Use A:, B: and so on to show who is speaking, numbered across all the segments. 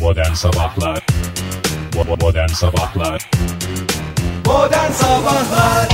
A: Modern Sabahlar Bo- Modern Sabahlar
B: Modern Sabahlar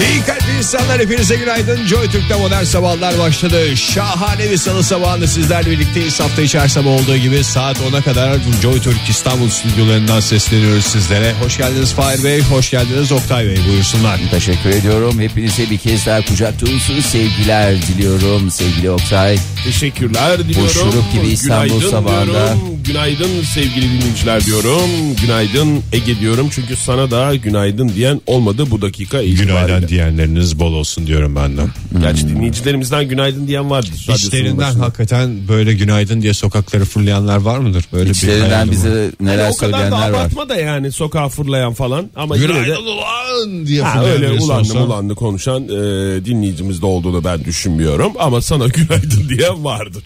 C: İyi kalpli insanlar hepinize günaydın. Joy Türk'te modern sabahlar başladı. Şahane bir salı sabahında sizlerle birlikteyiz. Hafta içi her sabah olduğu gibi saat 10'a kadar Joy Türk İstanbul stüdyolarından sesleniyoruz sizlere. Hoş geldiniz Fahir Bey, hoş geldiniz Oktay Bey buyursunlar.
D: Teşekkür ediyorum. Hepinize bir kez daha kucak dolusu sevgiler diliyorum sevgili Oktay.
E: Teşekkürler diliyorum.
D: şurup gibi İstanbul
E: Günaydın
D: sabahında.
E: Diyorum. Günaydın sevgili dinleyiciler diyorum. Günaydın Ege diyorum. Çünkü sana daha günaydın diyen olmadı bu dakika itibariyle.
C: Günaydın diyenleriniz bol olsun diyorum benden.
E: Gerçi
D: Hmm.
E: dinleyicilerimizden günaydın diyen vardır. radyosunun
C: İçlerinden
E: başında.
C: hakikaten böyle günaydın diye sokakları fırlayanlar var mıdır? Böyle bir
D: İçlerinden
C: hayalim var.
D: bize neler
E: Yani Hani o kadar da
D: söyleyenler var.
E: abartma da yani sokağa fırlayan falan ama yine de
C: Günaydın ulan diye
E: Ha,
C: fırlayan
E: öyle
C: birisi
E: ulanlı
C: olsa-
E: ulanlı konuşan e, dinleyicimiz de olduğunu ben düşünmüyorum ama sana günaydın diyen vardır.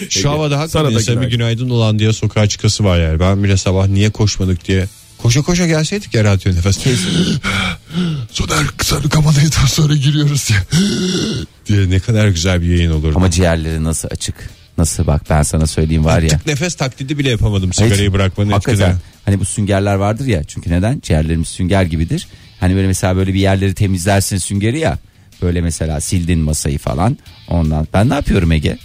E: Ege,
C: Şu havada
E: sana da
C: hakikaten insan bir
E: günaydın.
C: günaydın olan diye sokağa çıkası var yani. Ben bile sabah niye koşmadık diye. Koşa koşa gelseydik ya radyo nefes. Soner sarı kamalıydı sonra giriyoruz diye. diye ne kadar güzel bir yayın olurdu.
D: Ama ciğerleri nasıl açık? Nasıl bak ben sana söyleyeyim var ya.
C: Tık nefes taklidi bile yapamadım
D: Hiç-
C: sigarayı bırakmanın
D: Hakikaten.
C: etkileri.
D: Hani bu süngerler vardır ya. Çünkü neden? Ciğerlerimiz sünger gibidir. Hani böyle mesela böyle bir yerleri temizlersin süngeri ya. Böyle mesela sildin masayı falan. Ondan ben ne yapıyorum Ege?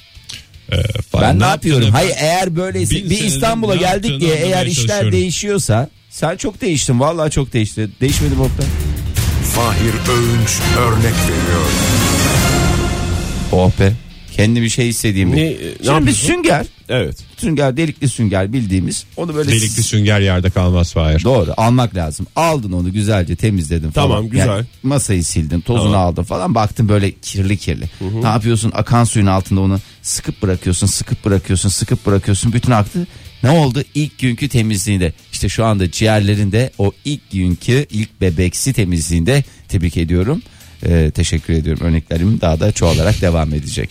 C: Ee, falan.
D: Ben ne yapıyorum?
C: yaptığını-
D: Hayır eğer böyleyse
C: Bin
D: bir
C: senedir
D: İstanbul'a
C: ne
D: geldik
C: yaptığını
D: diye
C: anlamaya
D: eğer işler
C: çalışıyorum.
D: değişiyorsa sen çok değiştin vallahi çok değişti. Değişmedi Oktay.
B: Fahir Öğünç örnek veriyor
D: Oh be. Kendi bir şey istediğim.
E: Ne-
D: bir-
E: ne
D: Şimdi bir
E: yapıyorsun?
D: sünger.
E: Evet.
D: Sünger delikli sünger bildiğimiz. Onu böyle
C: Delikli sünger yerde kalmaz Fahir.
D: Doğru almak lazım. Aldın onu güzelce temizledin falan.
E: Tamam, güzel.
D: masayı sildin tozunu
E: Tamam.
D: aldın falan baktın böyle kirli kirli. Ne yapıyorsun akan suyun altında onu sıkıp bırakıyorsun sıkıp bırakıyorsun sıkıp bırakıyorsun bütün aktı. Ne oldu ilk günkü temizliğinde işte şu anda ciğerlerinde o ilk günkü ilk bebeksi temizliğinde tebrik ediyorum. Ee, teşekkür ediyorum örneklerim daha da çoğalarak devam edecek.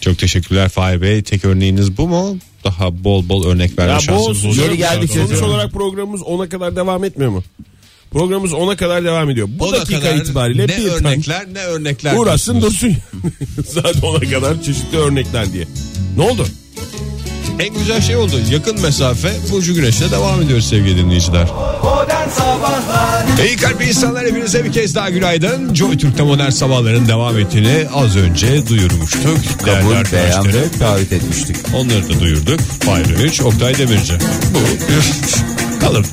C: Çok teşekkürler Fahir Bey. Tek örneğiniz bu mu? Daha bol bol örnek verme
E: Ya bu
C: şansımız olacak.
D: Yeri geldik
C: Daha
D: dedi.
E: Sonuç
C: doğru.
E: olarak programımız 10'a kadar devam etmiyor mu? Programımız 10'a kadar devam ediyor. Bu
C: O
E: dakika
C: kadar
E: itibariyle
C: ne
E: bir
C: örnekler ne örnekler
E: uğraşsın
C: diyorsunuz.
E: dursun. Zaten 10'a kadar çeşitli örnekler diye. Ne oldu?
C: En güzel şey oldu. Yakın mesafe Burcu Güneş'le devam ediyoruz sevgili dinleyiciler.
B: Modern Sabahlar
C: İyi kalp insanlar hepinize bir kez daha günaydın. Joy Türk'te modern sabahların devam ettiğini az önce duyurmuştuk. Değerli
D: Kabul beyan
C: arkadaşları.
D: ve davet etmiştik.
C: Onları da duyurduk. Fahri 3, Oktay Demirci. Bu bir- kalır.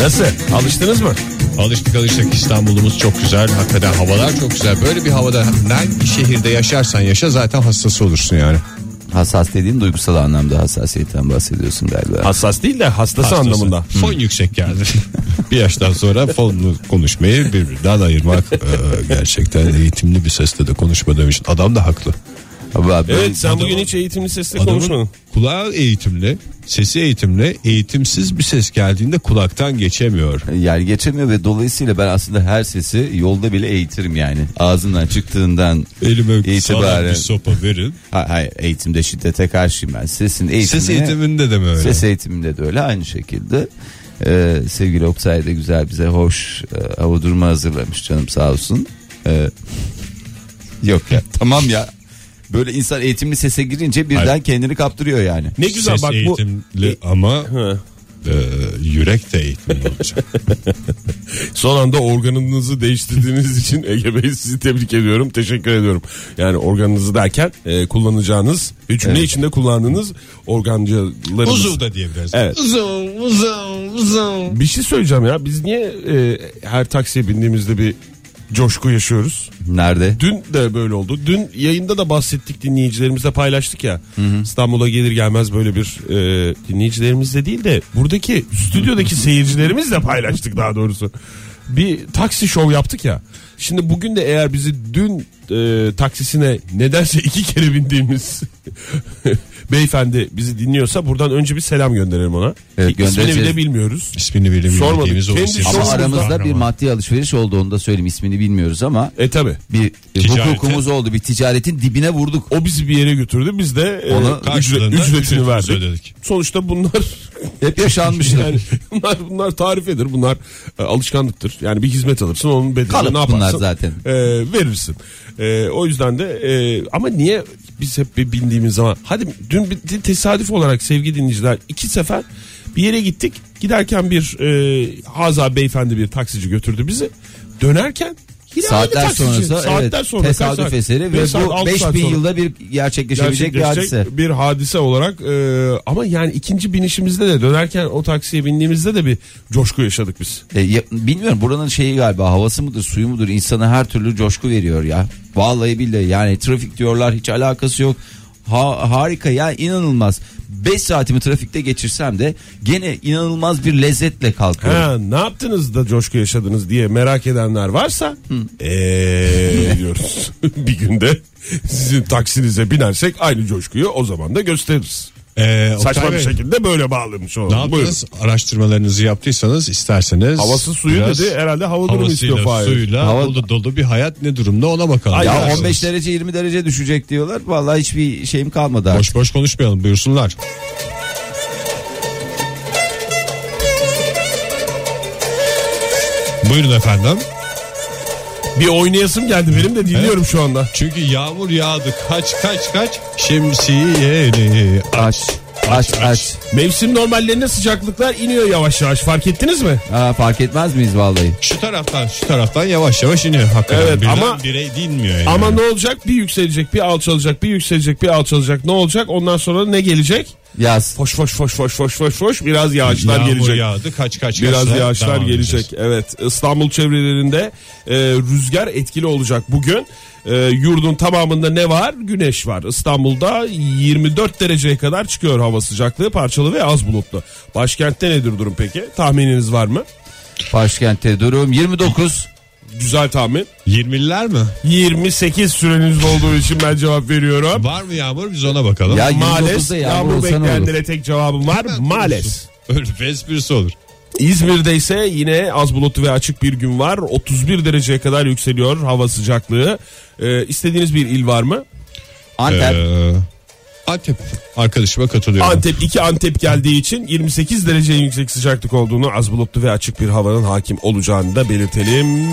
E: Nasıl? Alıştınız mı?
C: Alıştık alıştık İstanbul'umuz çok güzel. Hakikaten havalar çok güzel. Böyle bir havada hangi şehirde yaşarsan yaşa zaten hassas olursun yani.
D: Hassas dediğin duygusal anlamda hassasiyetten bahsediyorsun galiba.
E: Hassas değil de hastası,
C: Hastası.
E: anlamında. Hmm.
C: Fon yüksek geldi. bir yaştan sonra fonlu konuşmayı birbirinden ayırmak e, gerçekten eğitimli bir sesle de konuşmadığım için adam da haklı.
D: Abi, abi, ben-
E: Evet sen bugün hiç eğitimli sesle konuşmadın.
C: Adamın kulağı eğitimli, sesi eğitimli, eğitimsiz bir ses geldiğinde kulaktan geçemiyor.
D: Yani geçemiyor ve dolayısıyla ben aslında her sesi yolda bile eğitirim yani. Ağzından çıktığından
C: Elime sağlam
D: itibaren.
C: bir sopa verin.
D: Ha- Hayır eğitimde şiddete karşıyım ben. Sesin eğitimine,
C: Ses eğitiminde de mi öyle?
D: ses eğitiminde de öyle aynı şekilde. Ee, sevgili Oktay da güzel bize hoş e, avudurma hazırlamış canım sağ olsun. Ee, yok ya tamam ya. Böyle insan eğitimli sese girince birden
C: Hayır.
D: kendini kaptırıyor yani.
E: Ne güzel
C: ses
E: bak bu.
C: eğitimli ama e, yürek de eğitimli olacak.
E: Son anda organınızı değiştirdiğiniz için Ege Bey sizi tebrik ediyorum. Teşekkür ediyorum. Yani organınızı derken e, kullanacağınız, ve cümle içinde kullandığınız organcılarımız.
C: Uzuv da diyebiliriz.
E: Evet. Bir şey söyleyeceğim ya. Biz niye e, her taksiye bindiğimizde bir coşku yaşıyoruz?
D: Nerede?
E: Dün de böyle oldu. Dün yayında da bahsettik dinleyicilerimizle paylaştık ya. İstanbul'a gelir gelmez böyle bir e, dinleyicilerimizle değil de buradaki stüdyodaki seyircilerimizle paylaştık daha doğrusu. Bir taksi şov yaptık ya. Şimdi bugün de eğer bizi dün e, taksisine nedense iki kere bindiğimiz beyefendi bizi dinliyorsa buradan önce bir selam gönderelim ona.
D: Evet,
E: Ki İsmini
D: göndereceğiz.
E: bile bilmiyoruz.
C: İsmini bile
E: Sormadık.
C: bilmediğimiz o
E: Kendi
C: isim.
D: Ama
E: Çok
D: aramızda bir
C: kahraman.
D: maddi alışveriş oldu onu da söyleyeyim ismini bilmiyoruz ama
E: E tabi.
D: bir
C: Ticarete.
D: hukukumuz oldu bir ticaretin dibine vurduk.
E: O bizi bir yere götürdü. Biz de e,
D: Ona
E: ücret-
C: karşılığında
E: ücretini
C: ücretimizi
E: verdik.
C: ödedik.
E: Sonuçta bunlar
D: Hep yaşanmıştı.
E: yani bunlar bunlar tarifedir. Bunlar e, alışkanlıktır. Yani bir hizmet alırsın onun bedelini
D: Kalıp
E: ne e,
D: bunlar
E: yaparsın?
D: zaten.
E: e, verirsin. E, o yüzden de e, ama niye biz hep bir bindiğimiz zaman. Hadi dün bir tesadüf olarak sevgili dinleyiciler iki sefer bir yere gittik. Giderken bir e, Haza beyefendi bir taksici götürdü bizi. Dönerken yine aynı
D: Saatler
E: taksici.
D: sonrası
E: saatler
D: evet,
E: sonra
D: tesadüf eseri ve bu 5000 yılda bir gerçekleşebilecek bir hadise.
E: bir hadise olarak e, ama yani ikinci binişimizde de dönerken o taksiye bindiğimizde de bir coşku yaşadık biz.
D: E, ya- bilmiyorum buranın şeyi galiba havası mıdır suyu mudur insana her türlü coşku veriyor ya. Vallahi billahi yani trafik diyorlar hiç alakası yok. Ha, harika ya inanılmaz. 5 saatimi trafikte geçirsem de gene inanılmaz bir lezzetle kalkıyorum.
E: Ha, ne yaptınız da coşku yaşadınız diye merak edenler varsa eee diyoruz. bir günde sizin taksinize binersek aynı coşkuyu o zaman da gösteririz.
C: Ee, Oktay
E: Saçma bir
C: Bey,
E: şekilde böyle bağlamış
C: Ne
E: olalım. Buyurun.
C: yaptınız? Araştırmalarınızı yaptıysanız isterseniz.
E: Havası suyu
C: biraz
E: dedi herhalde hava durumu istiyor
C: Havasıyla
E: Fahir.
C: suyla
D: Hava-
C: dolu dolu bir hayat ne durumda ona bakalım.
E: Ay,
D: Ya
E: ya.
D: 15 derece 20 derece düşecek diyorlar. Vallahi hiçbir şeyim kalmadı. artık.
C: Boş boş konuşmayalım buyursunlar. Buyurun efendim.
E: Bir oynayasım geldi benim de dinliyorum şu anda.
C: Çünkü yağmur yağdı kaç kaç kaç şemsiyeli
D: Aç aç aç.
E: Mevsim normallerine sıcaklıklar iniyor yavaş yavaş fark ettiniz mi?
D: Aa, fark etmez miyiz vallahi?
C: Şu taraftan şu taraftan yavaş yavaş iniyor hakikaten.
E: Evet,
C: Birden
E: ama-
C: birey dinmiyor yani.
E: Ama ne olacak? Bir yükselecek, bir alçalacak, bir yükselecek, bir alçalacak. Ne olacak? Ondan sonra ne gelecek?
D: Yaz.
E: Foş foş foş foş foş foş foş biraz yağışlar
C: Yağmur
E: gelecek.
C: yağdı kaç kaç
E: Biraz
C: kaçla
E: yağışlar
C: devam
E: gelecek.
C: edeceğiz.
E: Evet. İstanbul çevrelerinde e, rüzgar etkili olacak bugün. E, yurdun tamamında ne var? Güneş var. İstanbul'da 24 dereceye kadar çıkıyor hava sıcaklığı. Parçalı ve az bulutlu. Başkentte nedir durum peki? Tahmininiz var mı?
D: Başkentte durum 29.
E: Güzel tahmin.
C: 20'liler mi?
E: 28 süreniz olduğu için ben cevap veriyorum.
C: Var mı yağmur biz ona bakalım.
D: Ya 29'da
E: Maalesef
D: yağmur
E: yağmur
D: olsa ne olur?
E: bekleyenlere tek cevabım var. Maalesef.
C: Öyle bir esprisi olur.
E: İzmir'de ise yine az bulutlu ve açık bir gün var. 31 dereceye kadar yükseliyor hava sıcaklığı. Ee, istediğiniz bir il var mı?
D: Antep.
C: Ee, Antep arkadaşıma katılıyorum.
E: Antep 2 Antep geldiği için 28 derece en yüksek sıcaklık olduğunu az bulutlu ve açık bir havanın hakim olacağını da belirtelim.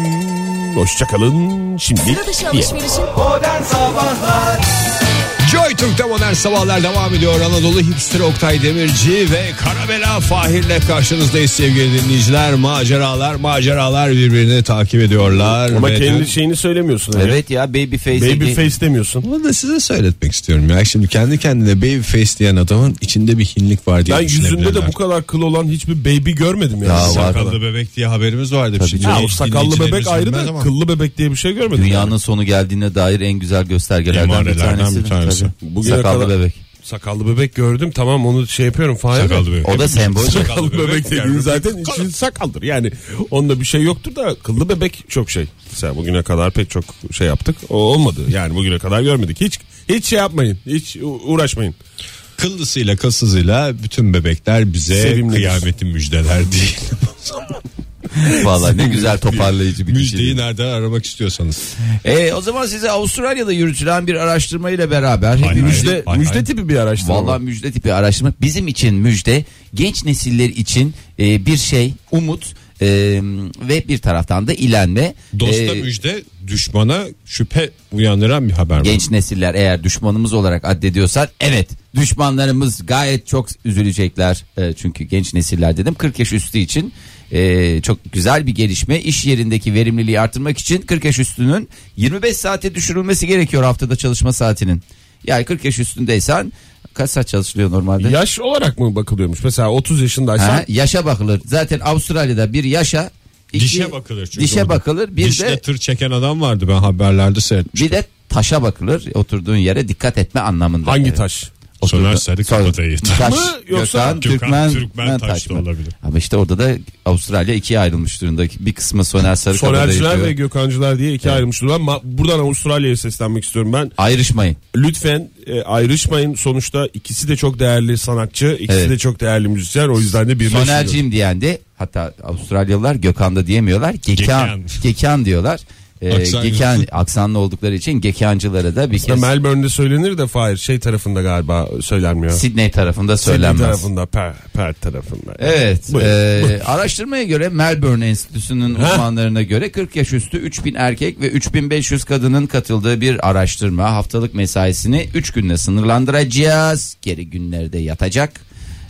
E: Hoşçakalın şimdi.
F: Sıra dışı alışverişin
B: Modern Sabahlar
C: Joy Türk'te modern sabahlar devam ediyor. Anadolu hipster Oktay Demirci ve Karabela Fahir'le karşınızdayız sevgili dinleyiciler. Maceralar maceralar birbirini takip ediyorlar.
E: Ama
C: Ve
E: kendi
C: dün-
E: şeyini söylemiyorsun. Evet.
D: Evet ya baby face.
E: Baby face demiyorsun.
C: Bunu da size söyletmek istiyorum ya. Şimdi kendi kendine baby face diyen adamın içinde bir hinlik var diye
E: Ben yüzünde de
C: düşünebilirler.
E: bu kadar kıl olan hiçbir baby görmedim yani.
D: Ya var.
C: Sakallı bebek diye haberimiz vardı. Şimdi
E: Ya o
C: dinleyicilerimiz
E: sakallı bebek ayrı
C: bilmez
E: da
C: ama
E: kıllı bebek diye bir şey görmedim. yani.
D: Dünyanın sonu geldiğine dair en güzel göstergelerden bir
C: Emarelerden
D: tanesi.
C: bir tanesi.
D: Tabii.
E: Bugüne
D: Sakallı
E: kadar-
D: bebek.
E: Sakallı bebek gördüm tamam onu şey yapıyorum. Fahir.
C: Sakallı bebek.
D: O da sembol.
E: Sakallı bebek dediğin zaten için sakaldır. Yani onda bir şey yoktur da kıllı bebek çok şey. Mesela bugüne kadar pek çok şey yaptık. O olmadı. Yani bugüne kadar görmedik. Hiç hiç şey yapmayın. Hiç u- uğraşmayın.
C: Kıllısıyla kasızıyla bütün bebekler bize
E: Sevimlidir.
C: kıyametin müjdeler değil.
D: Vallahi ne güzel toparlayıcı bir
C: Müjdeyi
D: kişi.
C: nereden aramak istiyorsanız.
D: E, o zaman size Avustralya'da yürütülen bir araştırma ile beraber
C: Hayır,
D: hepimiz
C: hayır.
E: Müjde, müjde tipi bir araştırma.
D: Vallahi müjde tipi araştırma bizim için müjde, genç nesiller için e, bir şey, umut e, ve bir taraftan da ilenme.
C: Dosta
D: E,
C: müjde, düşmana şüphe uyandıran bir haber var.
D: Genç nesiller eğer düşmanımız olarak addediyorsan evet düşmanlarımız gayet çok üzülecekler. E, çünkü genç nesiller dedim 40 yaş üstü için e, çok güzel bir gelişme. İş yerindeki verimliliği artırmak için 40 yaş üstünün 25 saate düşürülmesi gerekiyor haftada çalışma saatinin. Yani 40 yaş üstündeysen kaç saat çalışılıyor normalde?
E: Yaş olarak mı bakılıyormuş? Mesela 30 yaşındaysan
D: Ha, yaşa bakılır. Zaten Avustralya'da bir yaşa iki-
C: Dişe bakılır çünkü.
D: Dişe
C: orada.
D: bakılır. Bir
C: Dişle
D: de
C: tır çeken adam vardı ben haberlerde seyretmiştim.
D: bir de taşa bakılır. Oturduğun yere dikkat etme anlamında.
E: hangi
D: Evet.
E: taş?
C: Soner Sarı kafatayı.
D: Taş,
E: mı yoksa
C: Gökhan
D: Gökhan,
C: Türkmen
D: Türkmen, Türkmen
C: taş
D: taş
C: da
D: mı?
C: olabilir.
D: Ama işte orada da Avustralya ikiye ayrılmış durumda. Bir kısmı Soner Sarıkabada
E: Sonerciler ve
D: yaşıyor.
E: Gökhancılar diye iki ayrılmış durumda. Ma- Buradan Avustralya'ya seslenmek istiyorum ben.
D: Ayrışmayın.
E: Lütfen e, ayrışmayın. Sonuçta ikisi de çok değerli sanatçı. ikisi
D: Evet.
E: de çok değerli müzisyen. O yüzden de birleşiyor.
D: Sonerciyim diyen de hatta Avustralyalılar Gökhan da diyemiyorlar. Gekan,
C: Gekan.
D: Gekan diyorlar. e,
C: Aksan
D: Gekan, aksanlı oldukları için Gekancılara da bir
E: Ya
D: kez
E: Melbourne'de söylenir de Fahir şey tarafında galiba söylenmiyor.
D: Sydney tarafında
E: Sydney
D: söylenmez.
E: tarafında, per, per tarafında.
D: Evet.
E: Buyurun.
D: e, araştırmaya göre Melbourne Enstitüsü'nün uzmanlarına göre 40 yaş üstü 3000 erkek ve 3500 kadının katıldığı bir araştırma haftalık mesaisini 3 günle sınırlandıracağız. Geri günlerde yatacak.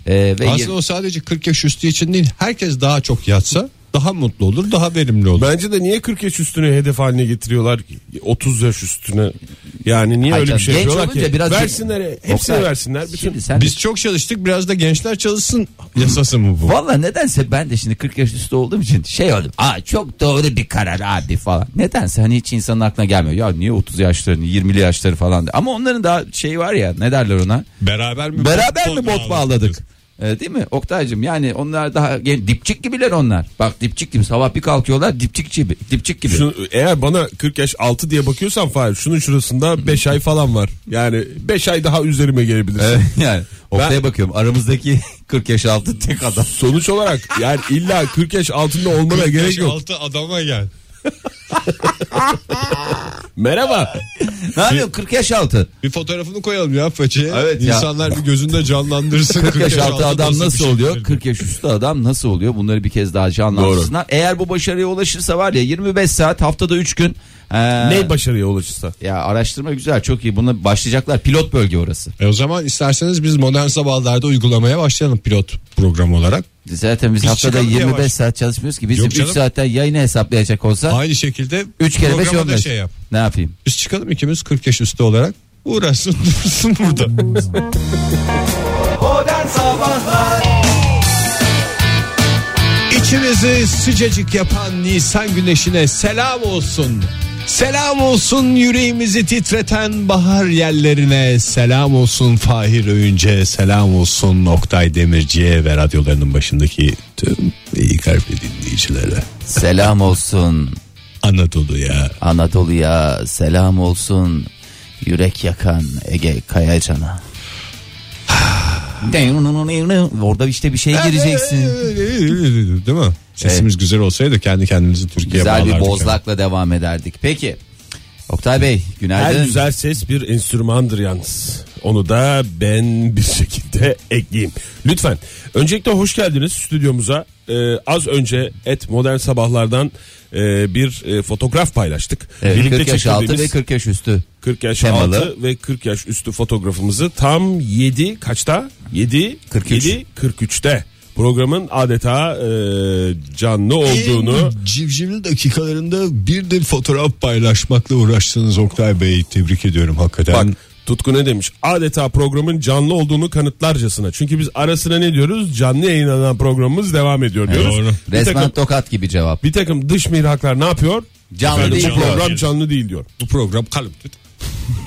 D: E, ve
C: Aslında o sadece 40 yaş üstü için değil. Herkes daha çok yatsa daha mutlu olur, daha verimli olur.
E: Bence de niye 40 yaş üstünü hedef haline getiriyorlar ki? 30 yaş üstüne. Yani niye
D: Hayır
E: öyle
D: canım,
E: bir şey
D: genç
E: yapıyorlar
D: olunca
E: ki?
D: biraz-
E: versinler, hepsini
D: Oktay,
E: versinler. Bütün
D: Şimdi sen
C: Biz çok çalıştık, biraz da gençler çalışsın yasası mı bu?
D: Valla nedense ben de şimdi 40 yaş üstü olduğum için şey oldum. Aa çok doğru bir karar abi falan. Nedense hani hiç insanın aklına gelmiyor. Ya niye 30 yaşlarını 20'li yaşları falan. diye. Ama onların daha şey var ya ne derler ona.
C: Beraber mi?
D: Beraber mi bot bağladık? Ee, değil mi Oktay'cım yani onlar daha gen- dipçik gibiler onlar. Bak dipçik gibi sabah bir kalkıyorlar dipçik gibi. Dipçik gibi.
E: Şunu- eğer bana 40 yaş altı diye bakıyorsan Fahir şunun şurasında 5 ay falan var. Yani 5 ay daha üzerime gelebilirsin.
D: Ee, yani Oktay'a
E: Ben-
D: bakıyorum aramızdaki 40 yaş altı tek adam.
E: Sonuç olarak yani illa 40 yaş altında olmana gerek yok.
C: adama gel.
E: Merhaba.
D: ne yapıyorsun 40 yaş altı?
C: Bir fotoğrafını koyalım ya façeye.
D: Evet ya.
C: İnsanlar bir gözünde canlandırsın.
D: 40 yaş altı
C: altı
D: adam
C: bir
D: nasıl
C: şey
D: oluyor?
C: olabilir?
D: 40 yaş üstü adam nasıl oluyor? Bunları bir kez daha canlandırsınlar. Eğer bu başarıya ulaşırsa var ya 25 saat haftada 3 gün. ee,
E: ne başarıya ulaşırsa.
D: ya araştırma güzel çok iyi. Buna başlayacaklar. Pilot bölge orası.
C: E o zaman isterseniz biz modern sabahlarda uygulamaya başlayalım pilot program olarak.
D: Zaten biz,
C: Biz
D: haftada
C: çıkalım
D: 25
C: yavaş.
D: saat çalışmıyoruz ki. Bizim
C: Yok
D: 3
C: canım.
D: saatten yayını hesaplayacak olsa
C: Aynı şekilde
D: 3 kere 5
C: programa da
D: 15.
C: şey yap.
D: Ne yapayım?
C: Biz çıkalım ikimiz 40 yaş üstü olarak. Uğraşsın dursun burada.
B: Modern Sabahlar
C: İçimizi sıcacık yapan Nisan güneşine selam olsun. Selam olsun yüreğimizi titreten bahar yerlerine. Selam olsun Fahir Öğünce. Selam olsun Oktay Demirci'ye ve radyolarının başındaki tüm iyi kalpli dinleyicilere.
D: Selam olsun
C: Anadolu'ya.
D: Anadolu'ya. Selam olsun yürek yakan Ege Kayacan'a. Orada işte bir şey gireceksin.
C: Değil mi? Sesimiz güzel olsaydı kendi kendimizi Türkiye'ye
D: Güzel bir
C: bağlardık.
D: bozlakla devam ederdik. Peki. Oktay Bey
E: Her
D: günaydın.
E: güzel ses bir enstrümandır yalnız. Onu da ben bir şekilde ekleyeyim. Lütfen. Öncelikle hoş geldiniz stüdyomuza. Ee, az önce et modern sabahlardan e, bir e, fotoğraf paylaştık.
D: Evet, 40 yaş altı ve
E: çektirdiğimiz
D: 40 yaş üstü.
E: 40 yaş
D: temalı.
E: altı ve 40 yaş üstü fotoğrafımızı tam 7 kaçta? 7
D: 43.
E: 7 43'te programın adeta e, canlı olduğunu
C: Civcivli dakikalarında bir de fotoğraf paylaşmakla uğraştığınız Oktay Bey'i tebrik ediyorum hakikaten.
E: Bak Tutku ne demiş? Adeta programın canlı olduğunu kanıtlarcasına. Çünkü biz arasına ne diyoruz? Canlı yayınlanan programımız devam ediyor diyoruz.
C: doğru.
E: Bir,
D: Resmen
E: takım,
D: tokat gibi cevap.
E: bir takım dış mihraklar ne yapıyor?
D: Canlı
E: Efendim,
D: değil
E: bu
D: diyor.
E: program canlı değil diyor.
C: bu program kalıptır.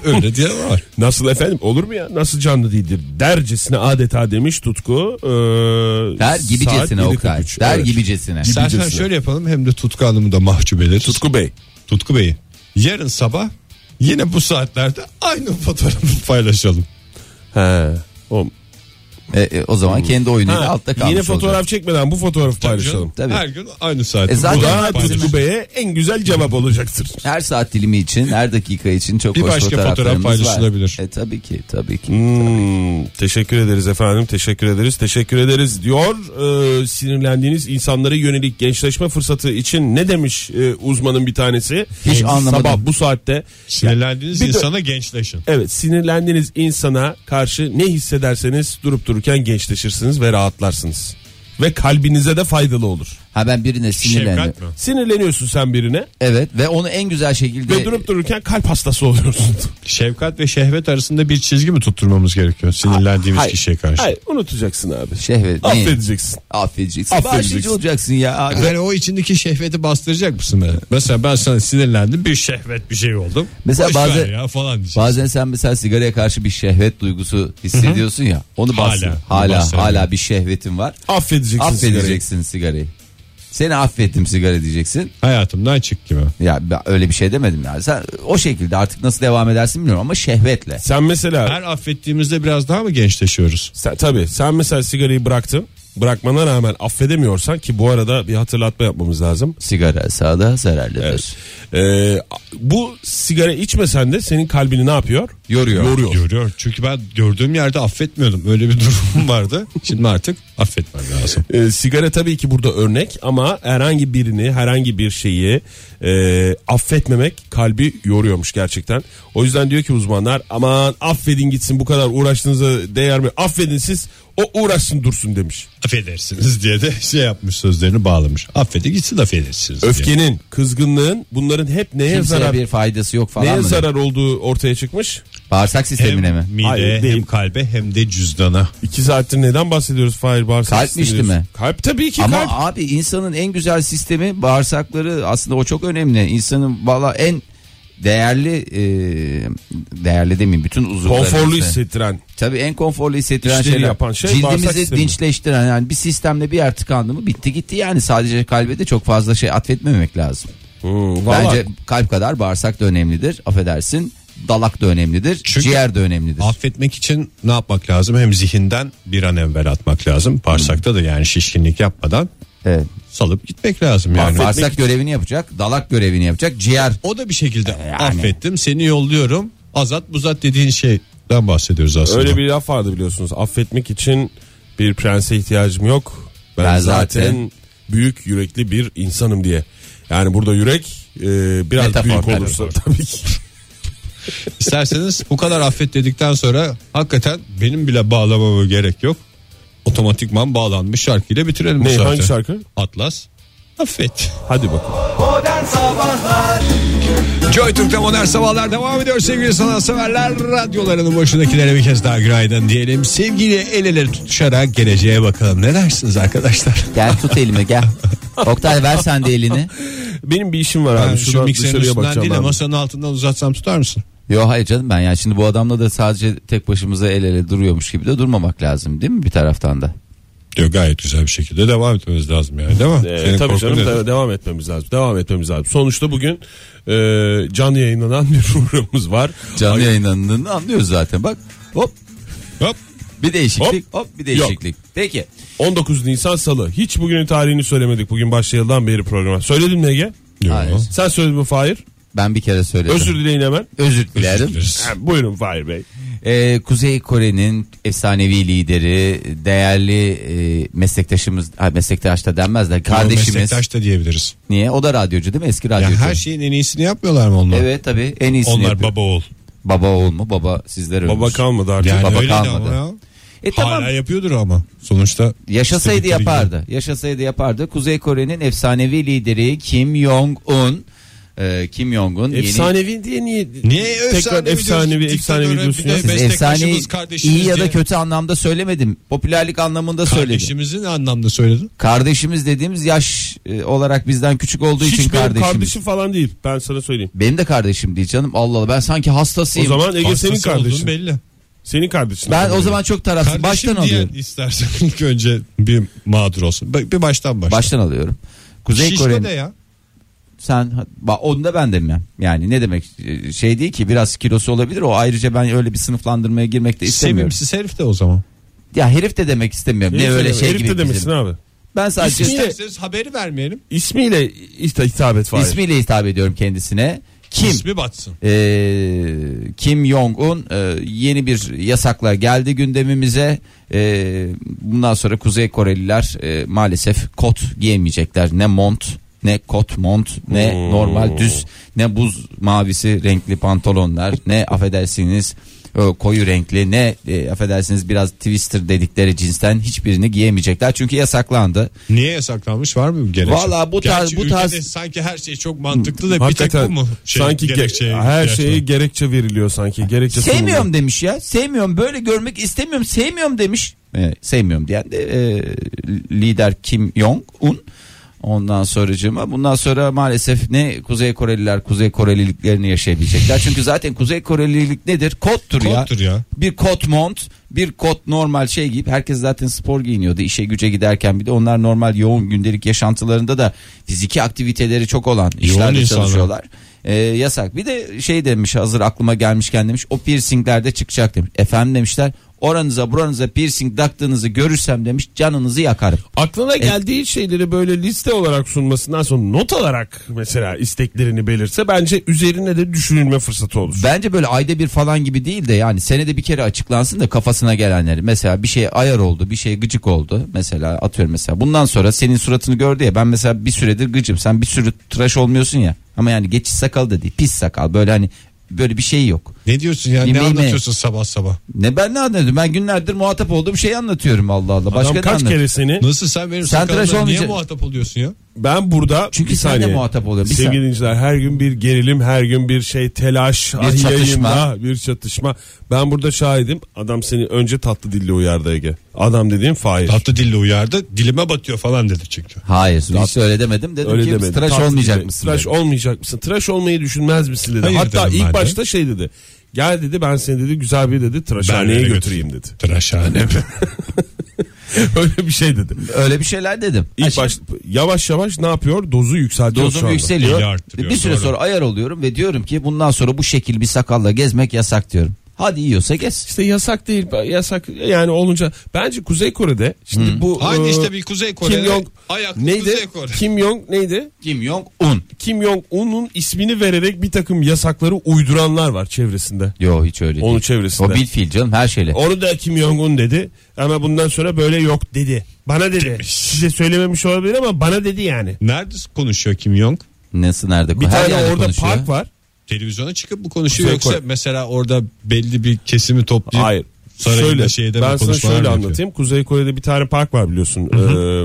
C: Öyle diye var.
E: Nasıl efendim? Olur mu ya? Nasıl canlı değildir? Dercesine adeta demiş Tutku. Ee,
D: Der
E: saat
D: gibicesine Oktay.
E: 7.43.
D: Der
E: Evet.
D: gibicesine.
C: İstersen
E: Gibicesine.
C: şöyle yapalım hem de Tutku Hanım'ı da mahcup ederiz.
E: Tutku Bey.
C: Tutku Bey'i. Yarın sabah yine bu saatlerde aynı fotoğrafı paylaşalım.
E: He. O,
D: E, e, o zaman kendi oyunuyla altta
E: ha,
D: kalmış
E: yine fotoğraf
D: olacak.
E: çekmeden bu fotoğrafı paylaşalım.
D: Tabii.
C: Her gün aynı saatte.
D: E zaten-
E: Bu
C: Bu da
E: da
D: Bizim-
E: Tutku Bey'e en güzel cevap olacaktır.
D: Her saat dilimi için, her dakika için çok
C: Bir
D: hoş
C: başka fotoğraf
D: fotoğraflarımız var.
C: paylaşılabilir.
D: E, tabii ki, tabii ki.
E: Hmm, teşekkür ederiz efendim teşekkür ederiz teşekkür ederiz diyor Ee, sinirlendiğiniz insanlara yönelik gençleşme fırsatı için ne demiş e, uzmanın bir tanesi
D: Hiç anlamadım.
E: sabah bu saatte
C: Sinirlendiğiniz
E: Bir de-
C: insana gençleşin.
E: evet sinirlendiğiniz insana karşı ne hissederseniz durup dururken gençleşirsiniz ve rahatlarsınız ve kalbinize de faydalı olur
D: Ha ben birine sinirlendim.
C: Şefkat mi?
E: sinirleniyorsun sen birine
D: Evet ve onu en güzel
E: ve
D: şekilde
E: durup dururken kalp hastası oluyorsun
C: Şefkat ve şehvet arasında bir çizgi mi tutturmamız gerekiyor sinirlendiğimiz
E: Hayır,
C: kişiye karşı? Şey,
E: hayır unutacaksın abi
D: şehvet. ne?
E: affedeceksin
D: Affedeceksin.
E: Affedeceksin.
D: Bağışlayıcı olacaksın ya. abi.
C: Yani o içindeki şehveti bastıracak mısın beni? Mesela ben sana sinirlendim bir şehvet bir şey oldum.
D: Mesela
C: Boş
D: bazı-
C: ver ya falan diyeceksin.
D: Bazen sen mesela sigaraya karşı bir şehvet duygusu hissediyorsun ya. Onu
C: Hala,
D: bastır.
C: onu
D: Hala hala,
C: bastırıyor.
D: bir şehvetin var.
E: affedeceksin sigarayı.
D: Affedeceksin sigarayı. Seni affettim sigara diyeceksin.
C: Hayatımdan çık gibi.
D: Ya ben öyle bir şey demedim yani. Sen o şekilde artık nasıl devam edersin bilmiyorum ama şehvetle.
E: sen mesela
C: Her affettiğimizde biraz daha mı gençleşiyoruz?
E: Sen, tabii sen mesela sigarayı bıraktın. bırakmana rağmen affedemiyorsan ki bu arada bir hatırlatma yapmamız lazım.
D: Sigara sağda zararlıdır.
E: Ee, bu sigara içmesen de senin kalbini ne yapıyor?
D: Yoruyor.
E: Yoruyor.
C: Görüyor. Çünkü ben gördüğüm yerde affetmiyordum. Öyle bir durumum vardı. Şimdi artık affetmem lazım.
E: Ee, sigara tabii ki burada örnek ama herhangi birini herhangi bir şeyi e, affetmemek kalbi yoruyormuş gerçekten. O yüzden diyor ki uzmanlar aman affedin gitsin bu kadar uğraştığınıza değer mi? Affedin siz o uğraşsın dursun demiş.
C: Affedersiniz diye de şey yapmış sözlerini bağlamış. Affede gitsin affedersiniz diye.
E: Öfkenin, kızgınlığın bunların hep neye
D: Kimseye
E: zarar
D: bir faydası yok falan
E: neye
D: mı?
E: zarar olduğu ortaya çıkmış.
D: Bağırsak sistemine mi?
C: Hem mideye
E: Hayır, değil.
C: hem kalbe hem de cüzdana.
E: İki saattir neden bahsediyoruz Fahir Bağırsak?
D: Kalp mi işte
E: sistemi?
D: mi?
E: Kalp tabii ki
D: Ama
E: kalp.
D: abi insanın en güzel sistemi bağırsakları aslında o çok önemli. İnsanın valla en değerli e, değerli demeyeyim bütün uzuvları.
E: Konforlu
D: işte.
E: hissettiren.
D: Tabii en konforlu hissettiren
E: İşleri
D: şeyler.
E: yapan şey bağırsak
D: Cildimizi
E: sistemi.
D: dinçleştiren yani bir sistemle bir yer tıkandı mı bitti gitti yani sadece kalbe de çok fazla şey atfetmemek lazım.
E: Hmm, valla.
D: Bence kalp kadar bağırsak da önemlidir affedersin dalak da önemlidir
C: Çünkü-
D: ciğer de önemlidir.
C: Affetmek için ne yapmak lazım? Hem zihinden bir an evvel atmak lazım. Bağırsakta da yani şişkinlik yapmadan
D: Evet.
C: salıp gitmek lazım yani.
D: bağırsak görevini yapacak dalak görevini yapacak ciğer
C: O da bir şekilde
E: Ee,
C: affettim seni yolluyorum. Azat buzat dediğin şeyden bahsediyoruz aslında.
E: Öyle bir laf vardı biliyorsunuz. Affetmek için bir prense ihtiyacım yok. Ben,
D: Ben
E: zaten,
D: zaten-
E: büyük yürekli bir insanım diye. Yani burada yürek e, biraz
D: Metafor,
E: büyük
D: metafor.
E: olursa tabii ki.
C: İsterseniz bu kadar affet dedikten sonra hakikaten benim bile bağlamama gerek yok. Otomatikman bağlanmış şarkıyla bitirelim bu
E: Ne,
C: saati.
E: hangi şarkı?
C: Atlas. Affet.
E: Hadi bakalım.
B: Modern Sabahlar
C: Joy Türk'te modern sabahlar devam ediyor sevgili sanatseverler. Radyolarının başındakilere bir kez daha günaydın diyelim. Sevgili el ele tutuşarak geleceğe bakalım. Ne dersiniz arkadaşlar?
D: gel tut elimi gel. Oktay ver sen de elini.
E: Benim bir işim var abi.
C: şu
E: Şuradan
C: mikserin
E: dışarıya
C: üstünden
E: bakacağım.
C: değil de
E: ben.
C: masanın altından uzatsam tutar mısın?
D: Yo hayır canım ben ya şimdi bu adamla da sadece tek başımıza el ele duruyormuş gibi de durmamak lazım değil mi bir taraftan da?
C: Diyor gayet güzel bir şekilde devam etmemiz lazım yani değil mi?
E: Ee,
C: Senin
E: tabii
C: korkun
E: canım
C: nedir?
E: de- devam etmemiz lazım. Devam etmemiz lazım. Sonuçta bugün e, canlı yayınlanan bir programımız var.
D: Canlı yayınlandığını anlıyoruz zaten bak hop
C: Hop.
D: bir değişiklik hop, bir değişiklik. Peki
E: 19 Nisan Salı. Hiç bugünün tarihini söylemedik. Bugün başlayıldan beri programa. Söyledin mi Ege?
D: Hayır.
E: Sen söyledin mi Fahir?
D: ben bir kere söyledim.
E: Özür dileyin hemen.
D: Özür dilerim.
E: Ha, buyurun Fahir Bey.
D: Ee, Kuzey Kore'nin efsanevi lideri, değerli e, meslektaşımız, ha, meslektaş da denmez de kardeşimiz.
C: Meslektaş da diyebiliriz.
D: Niye? O da radyocu değil mi? Eski
C: Ya
D: radyocu.
C: her şey şeyin en iyisini yapmıyorlar mı onlar?
D: Evet tabii en iyisini
C: Onlar
D: yapıyor.
C: baba oğul.
D: baba oğul mu? Baba sizler ölmüş.
E: Baba kalmadı artık.
C: Yani
D: baba
C: öyleydi
D: kalmadı.
C: ama ya.
D: E tamam
C: Hala yapıyordur ama. Sonuçta
D: Yaşasaydı
C: istedikleri
D: yapardı. Yaşasaydı yapardı. Kuzey Kore'nin efsanevi lideri Kim Jong-un e, Kim Jong-un yeni
E: Efsanevi diye niye?
C: gibi. Niye
E: Tekrar efsanevi
C: diyorsun?
E: efsanevi
C: Diktatöre
E: diyorsun
C: bir de
E: ya.
D: Siz efsane
C: meslektaşımız, kardeşimiz
D: iyi ya da
C: diye.
D: kötü anlamda söylemedim. Popülerlik anlamında söyledim.
C: Kardeşimizin anlamda söyledin.
D: Kardeşimiz dediğimiz yaş e, olarak bizden küçük olduğu için
E: Hiç benim
D: kardeşimiz.
E: kardeşim falan değil. Ben sana söyleyeyim.
D: Benim de kardeşim değil canım. Allah Allah ben sanki
E: O
D: hastasıyım.
E: zaman Ege senin
C: Hastası olduğun
E: kardeşin.
C: belli.
E: Senin kardeşin.
D: ben o zaman çok tarafsız.
C: Kardeşim
D: Baştan
C: diyen
D: alıyorum.
C: istersen ilk önce bir mağdur olsun. Bir bir baştan başla.
D: Baştan alıyorum. Kuzey
C: Şişko
D: Kore'nin
C: de ya.
D: sen ba- onda ben demem. Yani ne demek e, şey değil ki biraz kilosu olabilir. O ayrıca ben öyle bir sınıflandırmaya girmek de istemiyorum.
C: Sevimsiz herif de o zaman.
D: Ya herif de demek istemiyorum. ne öyle şey gibi.
E: de
D: bizim.
E: demesin abi.
D: Ben sadece
E: İsmi-
D: ismiyle,
C: İsterseniz haberi vermeyelim.
E: İsmiyle işte hitap et Fahir.
D: hitap ediyorum kendisine. Kim?
C: İsmi batsın.
D: Ee, Kim Jong-un e, yeni bir yasakla geldi gündemimize. Ee, bundan sonra Kuzey Koreliler e, maalesef kot giyemeyecekler. Ne mont ne kot mont ne
E: Hmm.
D: normal düz ne buz mavisi renkli pantolonlar ne affedersiniz e, koyu renkli ne e, affedersiniz biraz twister dedikleri cinsten hiçbirini giyemeyecekler. Çünkü yasaklandı.
C: Niye yasaklanmış var mı bir gerekçe?
D: Vallahi bu tarz-
C: Gerçi
D: bu
C: ülkede
D: tarz-
C: sanki her şey çok mantıklı da bir tek bu
E: Hakikaten
C: mu? Şey,
E: sanki ge-
C: gerekçeye
E: her
C: ihtiyaç
E: şeye
C: var?
E: gerekçe veriliyor sanki. Gerekçe sunuluyor.
D: Sevmiyorum demiş ya. Sevmiyorum böyle görmek istemiyorum. Sevmiyorum demiş. Ee, sevmiyorum diyen de e, lider Kim Jong Un. Ondan sonracığıma bundan sonra maalesef ne Kuzey Koreliler Kuzey Koreliliklerini yaşayabilecekler. Çünkü zaten Kuzey Korelilik nedir? Kottur ya.
C: Kottur ya.
D: Bir kot mont, bir kot normal şey giyip herkes zaten spor giyiniyordu işe güce giderken bir de onlar normal yoğun gündelik yaşantılarında da fiziki aktiviteleri çok olan işlerde
C: insanlar.
D: çalışıyorlar. e, yasak. Bir de şey demiş hazır aklıma gelmişken demiş o piercinglerde çıkacak demiş. Efendim demişler oranıza buranıza piercing taktığınızı görürsem demiş canınızı yakarım. E-
E: Aklına geldiği şeyleri böyle liste olarak sunmasından sonra not alarak mesela isteklerini belirse bence üzerine de düşünülme fırsatı olur.
D: Bence böyle ayda bir falan gibi değil de yani senede bir kere açıklansın da kafasına gelenleri. Mesela bir şey ayar oldu, bir şey gıcık oldu. Mesela atıyorum mesela bundan sonra senin suratını gördü ya ben mesela bir süredir gıcım. Sen bir sürü tıraş olmuyorsun ya. Ama yani geçiş sakalı da değil, pis sakal. Böyle hani böyle bir şey yok.
C: Ne diyorsun ya? Ne
D: Yemeğime-
C: anlatıyorsun sabah sabah?
D: Ne ben ne anladım? Ben günlerdir muhatap olduğum şeyi anlatıyorum Allah Allah. Başka
E: Adam
D: ne
E: kaç
D: anlatayım?
E: kere seni
C: Nasıl sen benim
D: Sen tıraş
C: sakalımla niye
D: olmayacaksın.
C: muhatap oluyorsun ya?
E: ben burada
D: Çünkü
E: bir
D: sen de
E: saniye.
D: muhatap oluyorsun. Bir
E: Sevgili dinleyiciler her gün bir gerilim her gün bir şey telaş bir
D: çatışma.
E: bir çatışma. Ben burada şahidim adam seni önce tatlı dille uyardı Ege. Adam dediğim Fahir.
C: Tatlı dille uyardı. Dilime batıyor falan dedi çünkü.
D: Hayır hiç öyle demedim. Dedim
E: Öyle
D: ki
E: demedi.
D: tıraş
E: Tatlı
D: olmayacak
E: dille,
D: mısın?
E: Tıraş
D: dedim.
E: olmayacak mısın? Tıraş olmayı düşünmez misin dedi.
C: Hayır
E: Hatta
C: dedim
E: ilk
C: ben de.
E: başta şey dedi. Gel dedi ben seni dedi güzel bir dedi tıraşhaneye
C: Berlere
E: götüreyim dedi.
C: Tıraşhane mi?
E: Öyle bir şey dedi.
D: Öyle bir şeyler dedim. Ha,
E: İlk
D: şimdi-
E: baş, yavaş yavaş ne yapıyor? Dozu yükseltiyor şu
D: Dozum
E: anda.
D: yükseliyor.
C: İyi arttırıyor,
D: Bir süre
C: doğru.
D: sonra ayar oluyorum ve diyorum ki bundan sonra bu şekil bir sakalla gezmek yasak diyorum. Hadi yiyorsa gez.
E: İşte yasak değil yasak yani olunca bence Kuzey Kore'de şimdi bu
C: Aynı
E: e,
C: Hmm. işte bir Kuzey Kore'de
E: Kim Jong
C: ayaklı
E: neydi?
C: Kuzey Kore.
E: Kim Jong neydi?
D: Kim Jong Un.
E: Kim Jong Un'un ismini vererek bir takım yasakları uyduranlar var çevresinde.
D: Yo hiç öyle değil.
E: Onun çevresinde.
D: O bir fiil canım her şeyle.
E: Onu da Kim Jong Un dedi ama bundan sonra böyle yok dedi. Bana dedi. Size söylememiş olabilir ama bana dedi yani.
C: Nerede konuşuyor Kim Jong?
D: Nasıl nerede?
E: Bir
D: her
E: tane
D: yerde
E: orada
D: konuşuyor.
E: park var.
C: Televizyona çıkıp bu konuşuyor
E: Kuzey
C: yoksa
E: Kore.
C: mesela orada belli bir kesimi toplayıp
E: Hayır.
C: sarayında
E: Şöyle,
C: şeyde
E: ben
C: mi
E: sana
C: konuşmalar mı
E: şöyle
C: yapıyor?
E: anlatayım. Kuzey Kore'de bir tane park var biliyorsun e,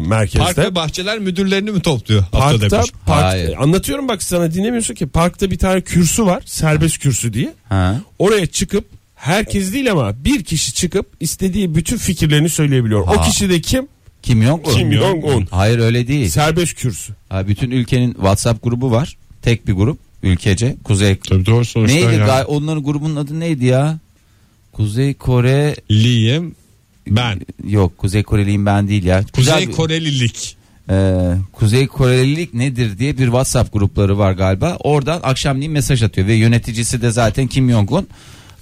E: merkezde.
C: Park ve bahçeler müdürlerini mi topluyor? Haftada
E: Parkta
C: bir.
E: park-
D: Hayır.
E: anlatıyorum bak sana dinlemiyorsun ki parkta bir tane kürsü var serbest kürsü diye
D: Ha.
E: oraya çıkıp herkes değil ama bir kişi çıkıp istediği bütün fikirlerini söyleyebiliyor. O
D: Ha.
E: kişi de kim?
D: Kim Jong Un.
E: Kim Jong Un.
D: Hayır öyle değil.
E: Serbest kürsü.
D: Ha, bütün ülkenin WhatsApp grubu var. Tek bir grup. Ülkece. Kuzey.
C: Tabii doğru sonuçta.
D: Neydi?
C: yani.
D: ga- Onların grubunun adı neydi ya? Kuzey Kore
C: Liyim ben.
D: yok Kuzey Koreliyim ben değil ya. Güzel
C: Kuzey
D: bir-
C: Korelilik.
D: Ee, Kuzey Korelilik nedir diye bir WhatsApp grupları var galiba. Oradan akşamleyin mesaj atıyor ve yöneticisi de zaten Kim Jong-un.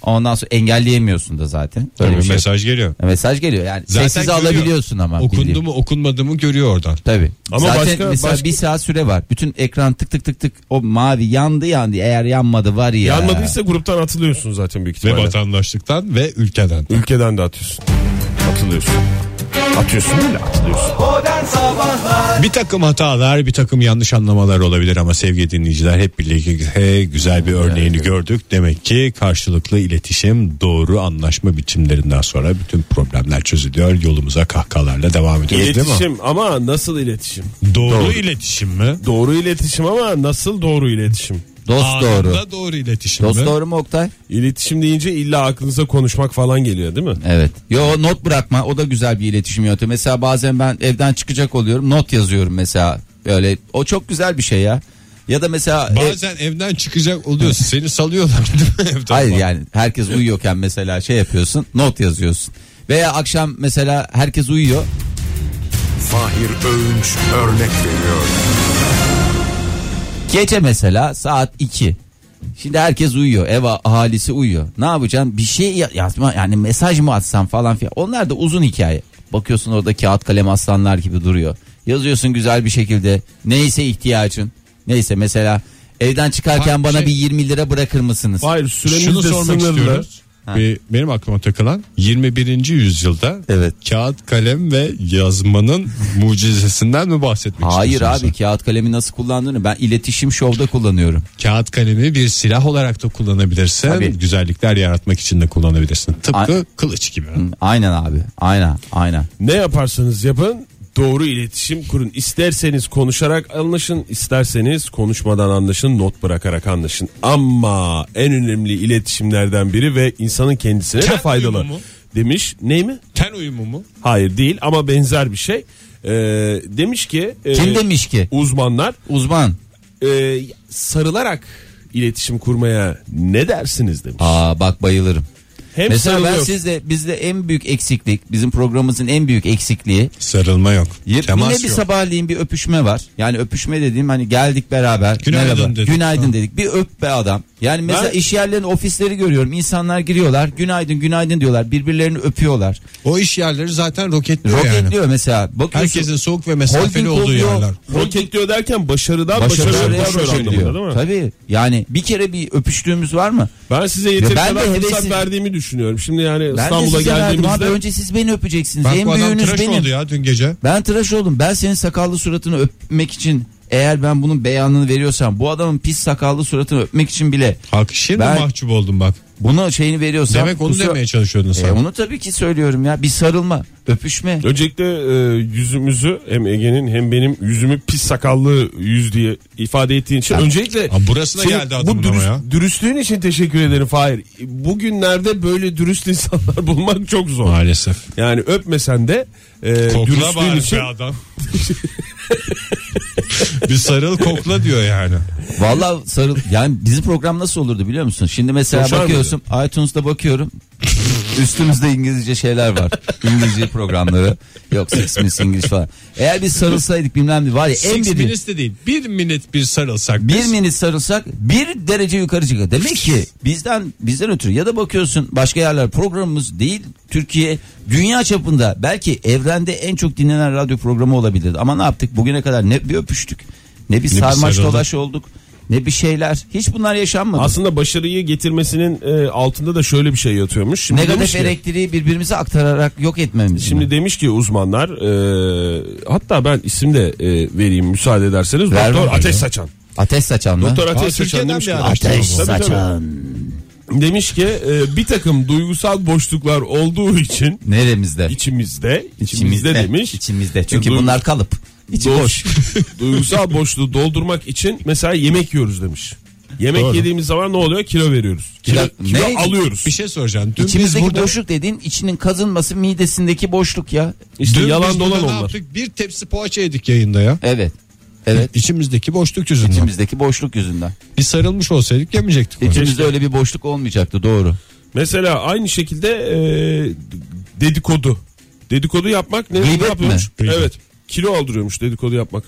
D: Ondan sonra engelleyemiyorsun da zaten. Böyle
C: Tabii
D: bir şey. mesaj.
C: mesaj geliyor.
D: geliyor yani
C: Zaten
D: sessiz
C: görüyor.
D: alabiliyorsun ama.
C: Okundu
D: bildiğin.
C: mu okunmadı mı görüyor oradan.
D: Tabii.
E: Ama
D: zaten
E: başka-
D: mesela
E: başka-
D: bir saat süre var. Bütün ekran tık tık tık tık o mavi yandı yandı. Eğer yanmadı var ya.
E: Yanmadıysa gruptan atılıyorsun zaten büyük
C: Ve
E: ihtimalle.
C: vatandaşlıktan ve ülkeden.
E: Ülkeden de atıyorsun. Atılıyorsun. Atıyorsun değil de atılıyorsun.
B: Modern Sabahlar
C: Bir takım hatalar, bir takım yanlış anlamalar olabilir ama sevgili dinleyiciler hep birlikte güzel bir örneğini gördük. Demek ki karşılıklı iletişim, doğru anlaşma biçimlerinden sonra bütün problemler çözülüyor. Yolumuza kahkahalarla devam ediyoruz değil
E: İletişim ama nasıl iletişim?
C: mi? Doğru, iletişim mi?
E: Doğru iletişim ama nasıl doğru iletişim?
D: Dost doğru.
C: Anında doğru iletişim
D: Dost
C: mi?
D: doğru mu Oktay?
E: İletişim deyince illa aklınıza konuşmak falan geliyor değil mi?
D: Evet. Yo not bırakma o da güzel bir iletişim yöntemi. Mesela bazen ben evden çıkacak oluyorum not yazıyorum mesela. Böyle o çok güzel bir şey ya. Ya da mesela ev-
C: Bazen evden çıkacak oluyorsun. Seni salıyorlar değil mi evden?
D: hayır
C: Bak.
D: yani herkes uyuyorken mesela şey yapıyorsun not yazıyorsun. Veya akşam mesela herkes uyuyor.
F: Fahir Öğünç örnek veriyor.
D: Gece mesela saat 2. Şimdi herkes uyuyor. Ev ahalisi uyuyor. Ne yapacaksın? Bir şey ya- yazma yani mesaj mı atsam falan filan. Onlar da uzun hikaye. Bakıyorsun orada kağıt kalem aslanlar gibi duruyor. Yazıyorsun güzel bir şekilde. Neyse ihtiyacın. Neyse mesela evden çıkarken
C: Bak,
D: bana
C: şey-
D: bir 20 lira bırakır mısınız?
E: Hayır süremiz
C: Şunu
E: de
C: sormak
E: sınırlı.
C: istiyoruz. Bir- benim aklıma takılan 21. yüzyılda
D: Evet.
C: kağıt kalem ve yazmanın mucizesinden mi bahsetmek
D: Hayır
C: istiyorsunuz?
D: abi kağıt kalemi nasıl kullandığını ben iletişim şovda kullanıyorum.
C: Kağıt kalemi bir silah olarak da kullanabilirsin.
D: Tabii.
C: Güzellikler yaratmak için de kullanabilirsin. Tıpkı
D: Ay-
C: kılıç gibi.
D: Aynen abi. Aynen. Aynen.
E: Ne yaparsanız yapın doğru iletişim kurun. İsterseniz konuşarak anlaşın, isterseniz konuşmadan anlaşın, not bırakarak anlaşın. Ama en önemli iletişimlerden biri ve insanın kendisine de
C: Kendi
E: faydalı.
C: uyumu mu?
E: Demiş ney mi?
C: Ten uyumu mu?
E: Hayır değil ama benzer bir şey. Ee, demiş ki e,
D: Kim demiş ki?
E: uzmanlar
D: Uzman.
E: e, sarılarak iletişim kurmaya ne dersiniz demiş.
D: Aa bak bayılırım.
E: Hem
D: Mesela ben
E: sarılıyor.
D: sizde bizde en büyük eksiklik bizim programımızın en büyük eksikliği
C: Sarılma yok.
D: Yine
C: Temas
D: bir
C: yok.
D: sabahleyin bir öpüşme var. Yani öpüşme dediğim hani geldik beraber.
C: Günaydın
D: merhaba,
C: dedik.
D: Günaydın
C: Ha.
D: dedik. Bir öp be adam. Yani mesela
E: Ben-
D: iş yerlerinin ofisleri görüyorum. İnsanlar giriyorlar. Günaydın günaydın diyorlar. Birbirlerini öpüyorlar.
C: O iş yerleri zaten roketliyor, yani.
D: Roketliyor mesela. Bakıyorsun,
C: Herkesin soğuk ve mesafeli
D: holding
C: olduğu
D: oluyor.
C: yerler.
E: Roketliyor derken başarıdan
D: Başarılar
E: başarıya
D: yapıyor.
E: başarı anlamında değil mi?
D: Tabii. Yani bir kere bir öpüştüğümüz var mı?
E: Ben size yeteri
D: ben de
E: kadar fırsat
D: hevesim-
E: verdiğimi düşünüyorum. Şimdi yani
D: Ben de
E: İstanbul'a
D: size verdim abi.
E: geldiğimizde
D: Önce siz beni öpeceksiniz.
C: Bak bu
D: en
C: adam
D: büyüğünüz
C: tıraş
D: benim.
C: oldu ya dün gece.
D: Ben tıraş oldum. Ben senin sakallı suratını öpmek için eğer ben bunun beyanını veriyorsam bu adamın pis sakallı suratını öpmek için bile
C: Bak şimdi
D: Ben-
C: mahcup oldum bak.
D: buna şeyini veriyorsam
C: Demek onu
D: kusura-
C: demeye çalışıyordun sen.
D: E, onu tabii ki söylüyorum ya. Bir sarılma, öpüşme.
E: Öncelikle e, yüzümüzü hem Ege'nin hem benim yüzümü pis sakallı yüz diye ifade ettiğin için öncelikle
C: Ha, burasına geldi adamın
E: bu dürüst-
C: ama ya.
E: dürüstlüğün için teşekkür ederim Fahir. Bugünlerde böyle dürüst insanlar bulmak çok zor.
C: Maalesef.
E: Yani öpmesen de e,
C: Kokla
E: dürüstlüğün
C: bari
E: için
C: be adam. bir sarıl kokla diyor yani.
D: Vallahi sarıl. Yani bizim program nasıl olurdu biliyor musun? Şimdi mesela
E: Koşar
D: bakıyorsun iTunes'da bakıyorum. Üstümüzde İngilizce şeyler var. İngilizce programları. Yok Six Minutes English falan. Eğer biz sarılsaydık bilmem ne var ya en
C: Six
D: bir
C: minutes de değil. Bir minit bir sarılsak.
D: bir
C: biz.
D: minit sarılsak bir derece yukarı çıkar. Demek ki bizden bizden ötürü ya da bakıyorsun başka yerler programımız değil Türkiye dünya çapında belki evrende en çok dinlenen radyo programı olabilirdi. Ama ne yaptık bugüne kadar ne bir öpüştük ne bir sarmaş
C: sarıldık.
D: dolaş olduk ne bir şeyler hiç bunlar yaşanmadı.
E: aslında başarıyı getirmesinin e, altında da şöyle bir şey yatıyormuş. Şimdi demiş
D: Negatif
E: ki-
D: elektriği birbirimize aktararak yok etmemiz.
E: Şimdi
D: mi?
E: demiş ki uzmanlar e, hatta ben isim de e, vereyim müsaade ederseniz.
D: Ver
E: Doktor
D: bakalım.
E: Ateş Saçan.
D: ateş saçan mı?
E: Doktor Ateş
C: Aa,
E: Saçan
C: Türkiye'den
E: demiş ki,
C: bir adam.
D: Ateş
E: Tabii, tabii.
D: saçan.
E: demiş ki e, bir takım duygusal boşluklar olduğu için
D: Neremizde?
E: içimizde içimizde demiş.
D: İçimizde. Çünkü
E: Duygu-
D: bunlar kalıp. İçi
E: Doğru.
D: boş.
E: duygusal boşluğu doldurmak için mesela yemek yiyoruz demiş. Yemek
C: Doğru.
E: yediğimiz zaman ne oluyor? Kilo veriyoruz. Kilo,
D: Kilo-
E: kilo
D: ne?
E: alıyoruz.
C: Bir şey soracağım. Dün
D: İçimizdeki
C: biz burada,
D: boşluk dediğin içinin kazınması midesindeki boşluk ya.
E: İşte
C: dün biz
E: yalan
C: burada
E: dolan
C: ne
E: onlar.
C: yaptık? Bir tepsi poğaça yedik yayında ya.
D: Evet. Evet.
C: İçimizdeki boşluk yüzünden.
D: İçimizdeki boşluk yüzünden.
C: Bir sarılmış olsaydık yemeyecektik. onu.
D: İçimizde öyle bir boşluk olmayacaktı doğru.
E: Mesela aynı şekilde e, dedikodu. Dedikodu yapmak ne, ne
D: Gıybet mi?
E: yapıyormuş?
C: Gıybet.
E: Evet. Kilo aldırıyormuş dedikodu yapmak.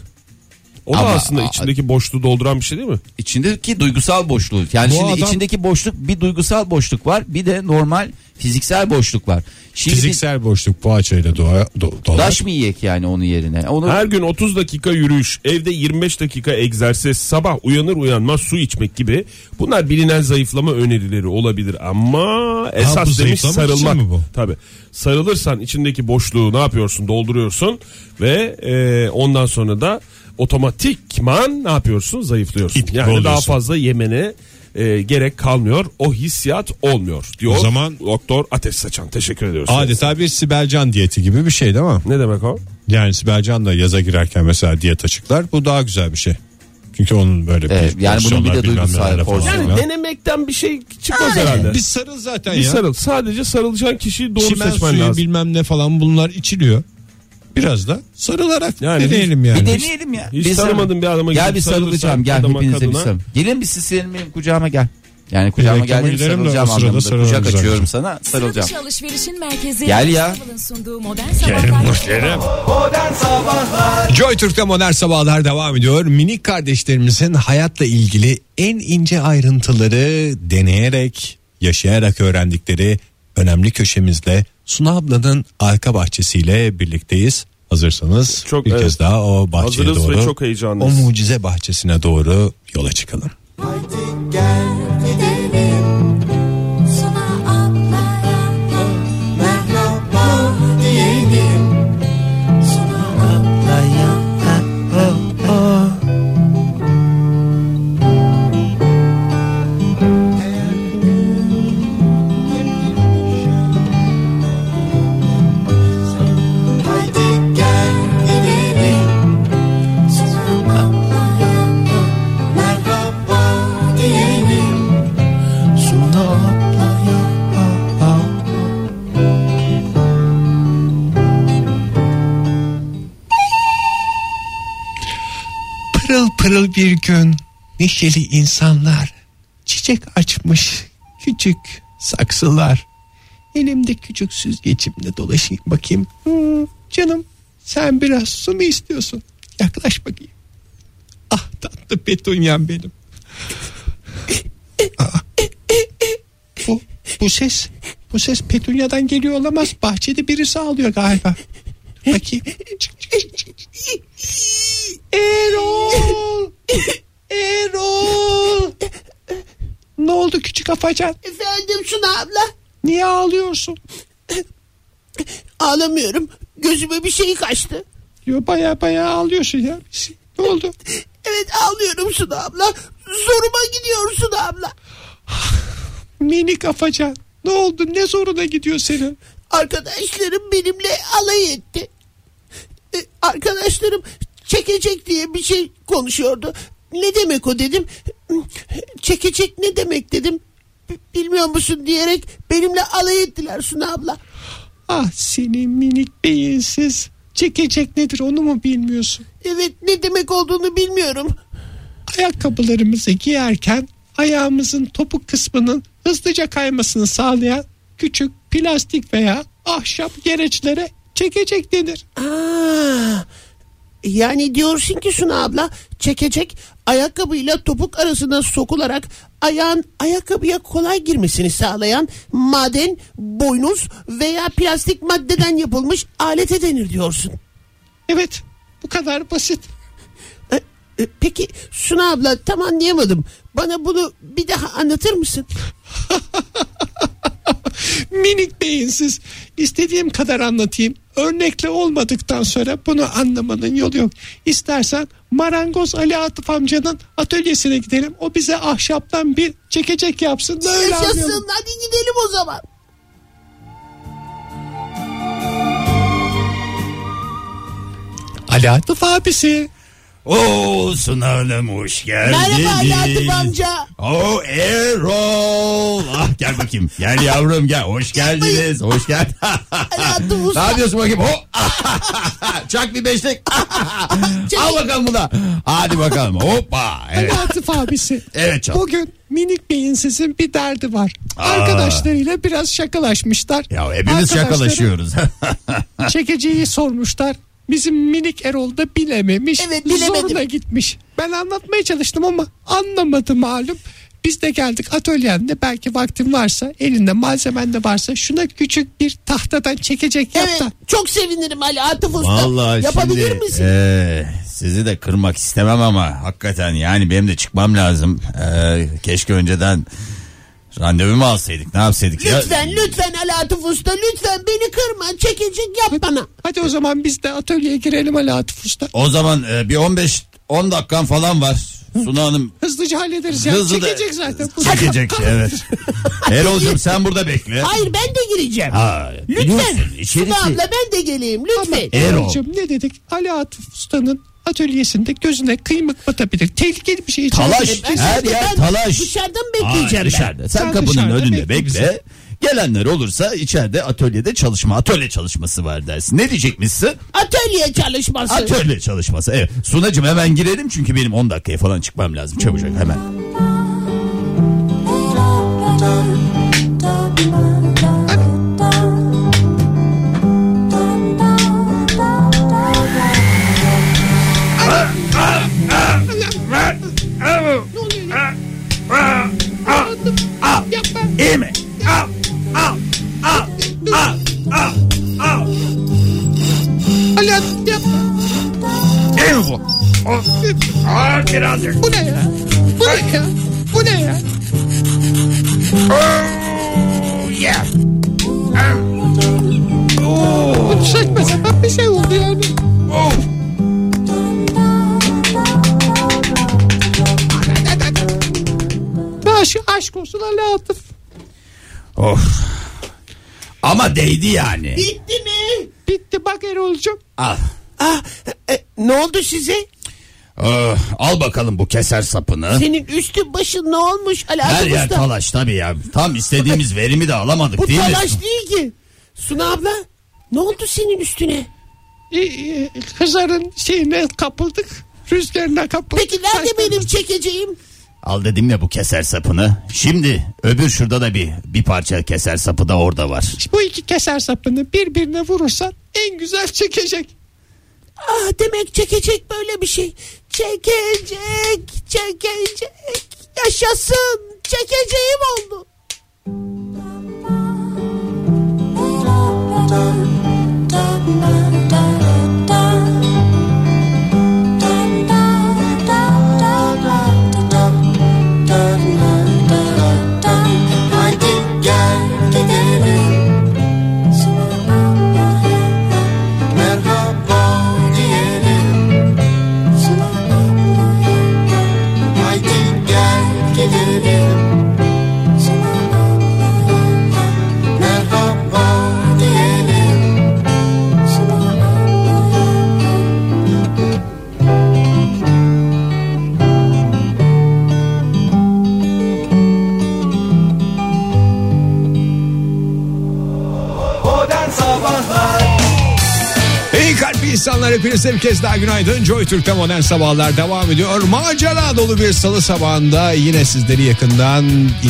E: O da
D: Ama-
E: aslında içindeki boşluğu dolduran bir şey değil mi?
D: İçindeki duygusal boşluğu. Yani
C: Bu
D: şimdi
C: adam-
D: içindeki boşluk bir duygusal boşluk var bir de normal fiziksel boşluk var. Şimdi Fiziksel...
C: Fiziksel boşluk poğaçayla doğa, do, dolar.
D: Taş mı yiyek yani onun yerine? Onu
E: Her gün 30 dakika yürüyüş, evde 25 dakika egzersiz, sabah uyanır uyanmaz su içmek gibi bunlar bilinen zayıflama önerileri olabilir ama esas
C: bu
E: demiş
C: zayıflamak için
E: sarılmak.
C: mi bu?
E: Tabii. Sarılırsan içindeki boşluğu ne yapıyorsun? Dolduruyorsun ve e, ondan sonra da otomatikman ne yapıyorsun? Zayıflıyorsun.
C: İtkin
E: yani daha
C: oluyorsun.
E: fazla yemene e, gerek kalmıyor. O hissiyat olmuyor diyor.
C: O zaman-
E: Doktor Ateş Saçan. Teşekkür ediyoruz.
C: Adeta bir Sibelcan diyeti gibi bir şey değil mi?
E: Ne demek o?
C: Yani Sibelcan da yaza girerken mesela diyet açıklar. Bu daha güzel bir şey. Çünkü onun böyle bir
D: Evet, yani bunun
C: porsiyonlar,
D: bir de
C: bilmem
D: duygusal
C: neler falan
D: porsiyon.
E: Yani
C: filan.
E: denemekten bir şey çıkmaz herhalde.
C: Bir sarıl zaten
E: Bir
C: ya.
E: sarıl. Sadece sarılacağın kişiyi doğru
C: Çimen
E: seçmen
C: suyu
E: lazım.
C: bilmem ne falan bunlar içiliyor. Biraz da sarılarak
E: Yani
C: deneyelim yani.
D: bir deneyelim ya.
E: hiç
D: Bir sarıl-
E: tanımadığın bir adama
D: Gel
E: gidip
D: bir sarılacağım
E: sarılırsan
D: gel
E: adama,
D: hepinize bir
E: kadına.
D: sarıl. Gelin bir siz senin benim kucağıma gel. Yani kucağıma
C: reklama
D: geldim
C: gidelim de o
D: sarılacağım
C: sırada
D: anlamında.
C: sarılalım
D: Kucak
C: güzelce.
D: açıyorum sana sarılacağım.
G: Sıradışı alışverişin merkezi
D: Gel ya.
G: İstanbul'un sunduğu modern sabahlar.
B: Modern Sabahlar
C: Joy Türk'te modern sabahlar devam ediyor. Minik kardeşlerimizin hayatla ilgili en ince ayrıntıları deneyerek, yaşayarak öğrendikleri önemli köşemizle Suna ablanın arka bahçesiyle birlikteyiz. Hazırsanız
E: Çok,
C: bir
E: evet.
C: kez daha o bahçeye
E: Hazırız
C: doğru,
E: ve çok
C: o
E: heyecanlıyız.
C: mucize bahçesine doğru yola çıkalım.
G: Gidelim Suna ablaya merhaba diyelim. Suna Haydi gel gidelim Suna ablaya merhaba diyelim Suna ablaya
H: pırıl pırıl bir gün neşeli insanlar çiçek açmış küçük saksılar
C: Elimde küçük süzgecimle dolaşayım bakayım. Hmm, canım sen biraz su mu istiyorsun? Yaklaş bakayım. Ah tatlı petunyam benim. Aa. bu, bu ses bu ses petunyadan geliyor olamaz. Bahçede birisi ağlıyor galiba. Dur bakayım. Çık, çık, çık, çık. Erol! Erol! Ne oldu küçük afacan?
I: Efendim Suna abla
C: Niye ağlıyorsun?
I: ağlamıyorum. Gözüme bir şey kaçtı.
C: Yo baya baya ağlıyorsun ya. Ne oldu?
I: Evet ağlıyorum Suna abla. Zoruma gidiyor Suna abla.
C: Mini kafacan. Ne oldu? Ne zoruna gidiyor senin?
I: Arkadaşlarım benimle alay etti. E, arkadaşlarım çekecek diye bir şey konuşuyordu. Ne demek o dedim. Çekecek ne demek dedim. B- Bilmiyor musun diyerek benimle alay ettiler Suna abla.
C: Ah senin minik beyinsiz. Çekecek nedir onu mu bilmiyorsun?
I: Evet ne demek olduğunu bilmiyorum.
C: Ayakkabılarımızı giyerken ayağımızın topuk kısmının hızlıca kaymasını sağlayan küçük plastik veya ahşap gereçlere çekecek denir.
I: Aa, yani diyorsun ki Suna abla çekecek ayakkabıyla topuk arasına sokularak ayağın ayakkabıya kolay girmesini sağlayan maden, boynuz veya plastik maddeden yapılmış alete denir diyorsun.
C: Evet bu kadar basit.
I: E, e, Peki Suna abla tam anlayamadım. Bana bunu bir daha anlatır mısın?
C: Minik beyinsiz. İstediğim kadar anlatayım. Örnekle olmadıktan sonra bunu anlamanın yolu yok. İstersen marangoz Ali Atıf amcanın atölyesine gidelim. O bize ahşaptan bir çekecek yapsın. da Öyle anlayalım.
I: Yaşasın hadi gidelim o zaman.
C: Ali Atıf abisi.
D: Oo Suna Hanım hoş geldiniz.
I: Merhaba Hayati amca.
D: Oo Erol. Ah gel bakayım. Gel yavrum gel. Hoş geldiniz. Hoş geldin.
I: Hayatım
D: ne
I: usta.
D: yapıyorsun bakayım? Ho! Çak bir beşlik. Al bakalım buna. Hadi bakalım. Hoppa. Evet.
C: Ali Atıf abisi.
D: Evet canım.
C: Bugün minik beyinsizin bir derdi var. Arkadaşlarıyla biraz şakalaşmışlar.
D: Ya hepimiz
C: Arkadaşları
D: şakalaşıyoruz.
C: Çekeceği sormuşlar. Bizim minik Erol da bilememiş.
I: Evet, bilemedim.
C: Zoruna gitmiş. Ben anlatmaya çalıştım ama anlamadı malum. Biz de geldik atölyende belki vaktin varsa elinde malzemen de varsa şuna küçük bir tahtadan çekecek yap
I: Evet,
C: da.
I: çok sevinirim Ali Atıf Usta.
D: Vallahi
I: Yapabilir
D: şimdi, e,
I: misin?
D: eee, sizi de kırmak istemem ama hakikaten yani benim de çıkmam lazım. Eee, keşke önceden randevumu alsaydık. Ne yapsaydık? ya?
I: Lütfen lütfen Ali Atıf Usta lütfen beni kırma çekecek yap bana.
C: Hadi o zaman biz de atölyeye girelim Ali Atıf Usta.
D: O zaman e, bir 15 10 dakikan falan var. Suna Hanım
C: Hızlıca hallederiz ya.
D: Hızlı da-
C: çekecek zaten. Bu-
D: çekecek evet. Erol'cum sen burada bekle.
I: Hayır ben de gireceğim.
D: Ha,
I: lütfen.
D: biliyorsun, içerisi- e,
I: Suna abla ben de geleyim lütfen.
D: Erol.
C: Erol'cum ne dedik? Ali Atıf Usta'nın atölyesinde gözüne kıymık batabilir. Tehlikeli bir şey.
D: Talaş
I: Ben
D: her
I: şimdi
D: yer
I: ben
D: talaş.
I: Dışarıdan
D: Hayır,
I: bekleyeceğim ben.
D: dışarıda. Sen,
C: Sen
D: kapının
C: dışarıda
D: önünde
C: bekle bizi.
D: bekle. Gelenler olursa içeride atölyede çalışma, atölye çalışması var dersin. Ne diyecekmişsin?
I: Atölye
C: Şey-
I: çalışması.
D: Atölye çalışması. Evet. Sunacım hemen girelim çünkü benim 10 dakikaya falan çıkmam lazım. Çabucak hemen. İyi mi?
C: Ali Atıf yap.
D: İyi mi bu? Aa, birazcık.
C: Bu ne ya? Bu ne ya? Bu ne ya?
I: Oh,
D: Yeah.
I: Ah. Oh.
C: Bu saçma sapan bir şey oldu yani. Aşk, aşk olsun Ali Atıf.
D: Of. Ama değdi yani.
I: Bitti mi?
C: Bitti bak Erol'cum.
D: Al.
I: Ah, e, ne oldu size?
D: Ah, al bakalım bu keser sapını.
I: Senin üstün başın ne olmuş Ali
D: Her
I: Atıf
D: yer
I: Usta?
D: talaş tabii ya. Tam istediğimiz verimi de alamadık
I: Bu
D: değil
I: talaş
D: mi?
I: değil ki. Suna abla ne oldu senin üstüne?
C: E, e, Kızların şeyine kapıldık. Rüzgarına kapıldık.
I: Peki nerede
C: Saçma-
I: benim çekeceğim?
D: Al dedim ya bu keser sapını. Şimdi öbür şurada da bir bir parça keser sapı da orada var.
H: Bu iki keser sapını birbirine vurursan en güzel çekecek.
J: Ah demek çekecek böyle bir şey. Çekecek, çekecek. Yaşasın. Çekeceğim oldu.
G: Haydi gel gidelim Merhaba diyelim Haydi gel gidelim Merhaba diyelim
B: Modern Sabahlar
C: İyi kalp insanlar hepinize bir kez daha günaydın. Joy Türk'te modern sabahlar devam ediyor. Macera dolu bir salı sabahında yine sizleri yakından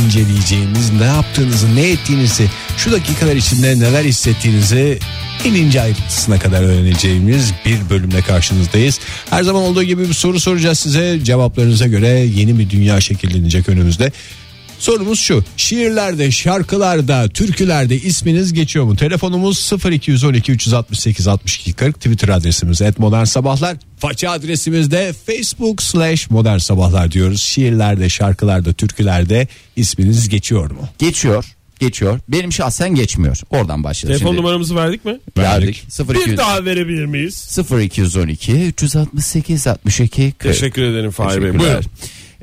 C: inceleyeceğimiz ne yaptığınızı, ne ettiğinizi, şu dakikalar içinde neler hissettiğinizi en ince ayrıntısına kadar öğreneceğimiz bir bölümle karşınızdayız. Her zaman olduğu gibi bir soru soracağız size. Cevaplarınıza göre yeni bir dünya şekillenecek önümüzde. Sorumuz şu. Şiirlerde, şarkılarda, türkülerde isminiz geçiyor mu? Telefonumuz 0212 368 62 40. Twitter adresimiz et modern sabahlar. Faça adresimiz de facebook slash modern sabahlar diyoruz. Şiirlerde, şarkılarda, türkülerde isminiz geçiyor mu?
D: Geçiyor. Geçiyor. Benim şahsen geçmiyor. Oradan başladı.
E: Telefon
D: Şimdi
E: numaramızı verdik mi?
D: verdik. 0200
E: Bir daha verebilir miyiz?
D: 0212 368 62 40.
E: Teşekkür ederim Fahir Bey.
D: Teşekkürler.
E: Buyurun.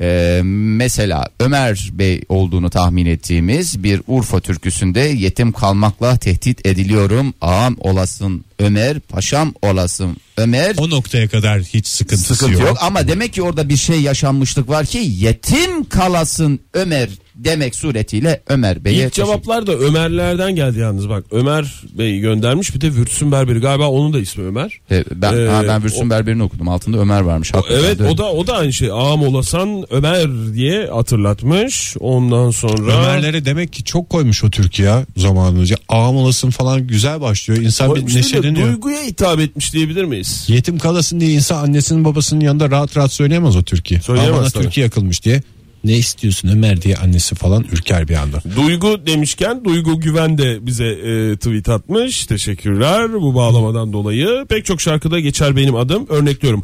D: Ee, mesela Ömer Bey olduğunu tahmin ettiğimiz bir Urfa türküsünde yetim kalmakla tehdit ediliyorum. Ağam olasın Ömer, paşam olasın Ömer.
C: O noktaya kadar hiç sıkıntısı
D: Sıkıntı
C: yok.
D: yok. ama demek ki orada bir şey yaşanmışlık var ki yetim kalasın Ömer demek suretiyle Ömer Bey'e
E: İlk cevaplar da Ömerlerden geldi yalnız bak. Ömer Bey göndermiş bir de Vürtsün Berberi galiba onun da ismi Ömer.
D: teşekkür- Ee, ben ha,
E: Ee,
D: ben Bürsün
E: o-
D: Berberi'ni okudum. Altında Ömer varmış. Hakikaten
E: Evet
D: de-
E: o da o da aynı şey. Ağam olasan Ömer diye hatırlatmış. Ondan sonra
C: Ömerlere demek ki çok koymuş o Türkiye ya zamanında. Ağam olasın falan güzel başlıyor. İnsan bir
E: Koymuş değil de
C: neşeleniyor.
E: duyguya hitap etmiş diyebilir miyiz?
C: Yetim kalasın diye insan annesinin babasının yanında rahat rahat söyleyemez o Türkiye.
E: Söyleyemez
C: Ama bana
E: tabii.
C: Türkiye yakılmış diye. Ne istiyorsun Ömer diye annesi falan ürker bir anda.
E: Duygu demişken Duygu Güven de bize e, tweet atmış. Teşekkürler bu bağlamadan dolayı. Pek çok şarkıda geçer benim adım. Örnekliyorum.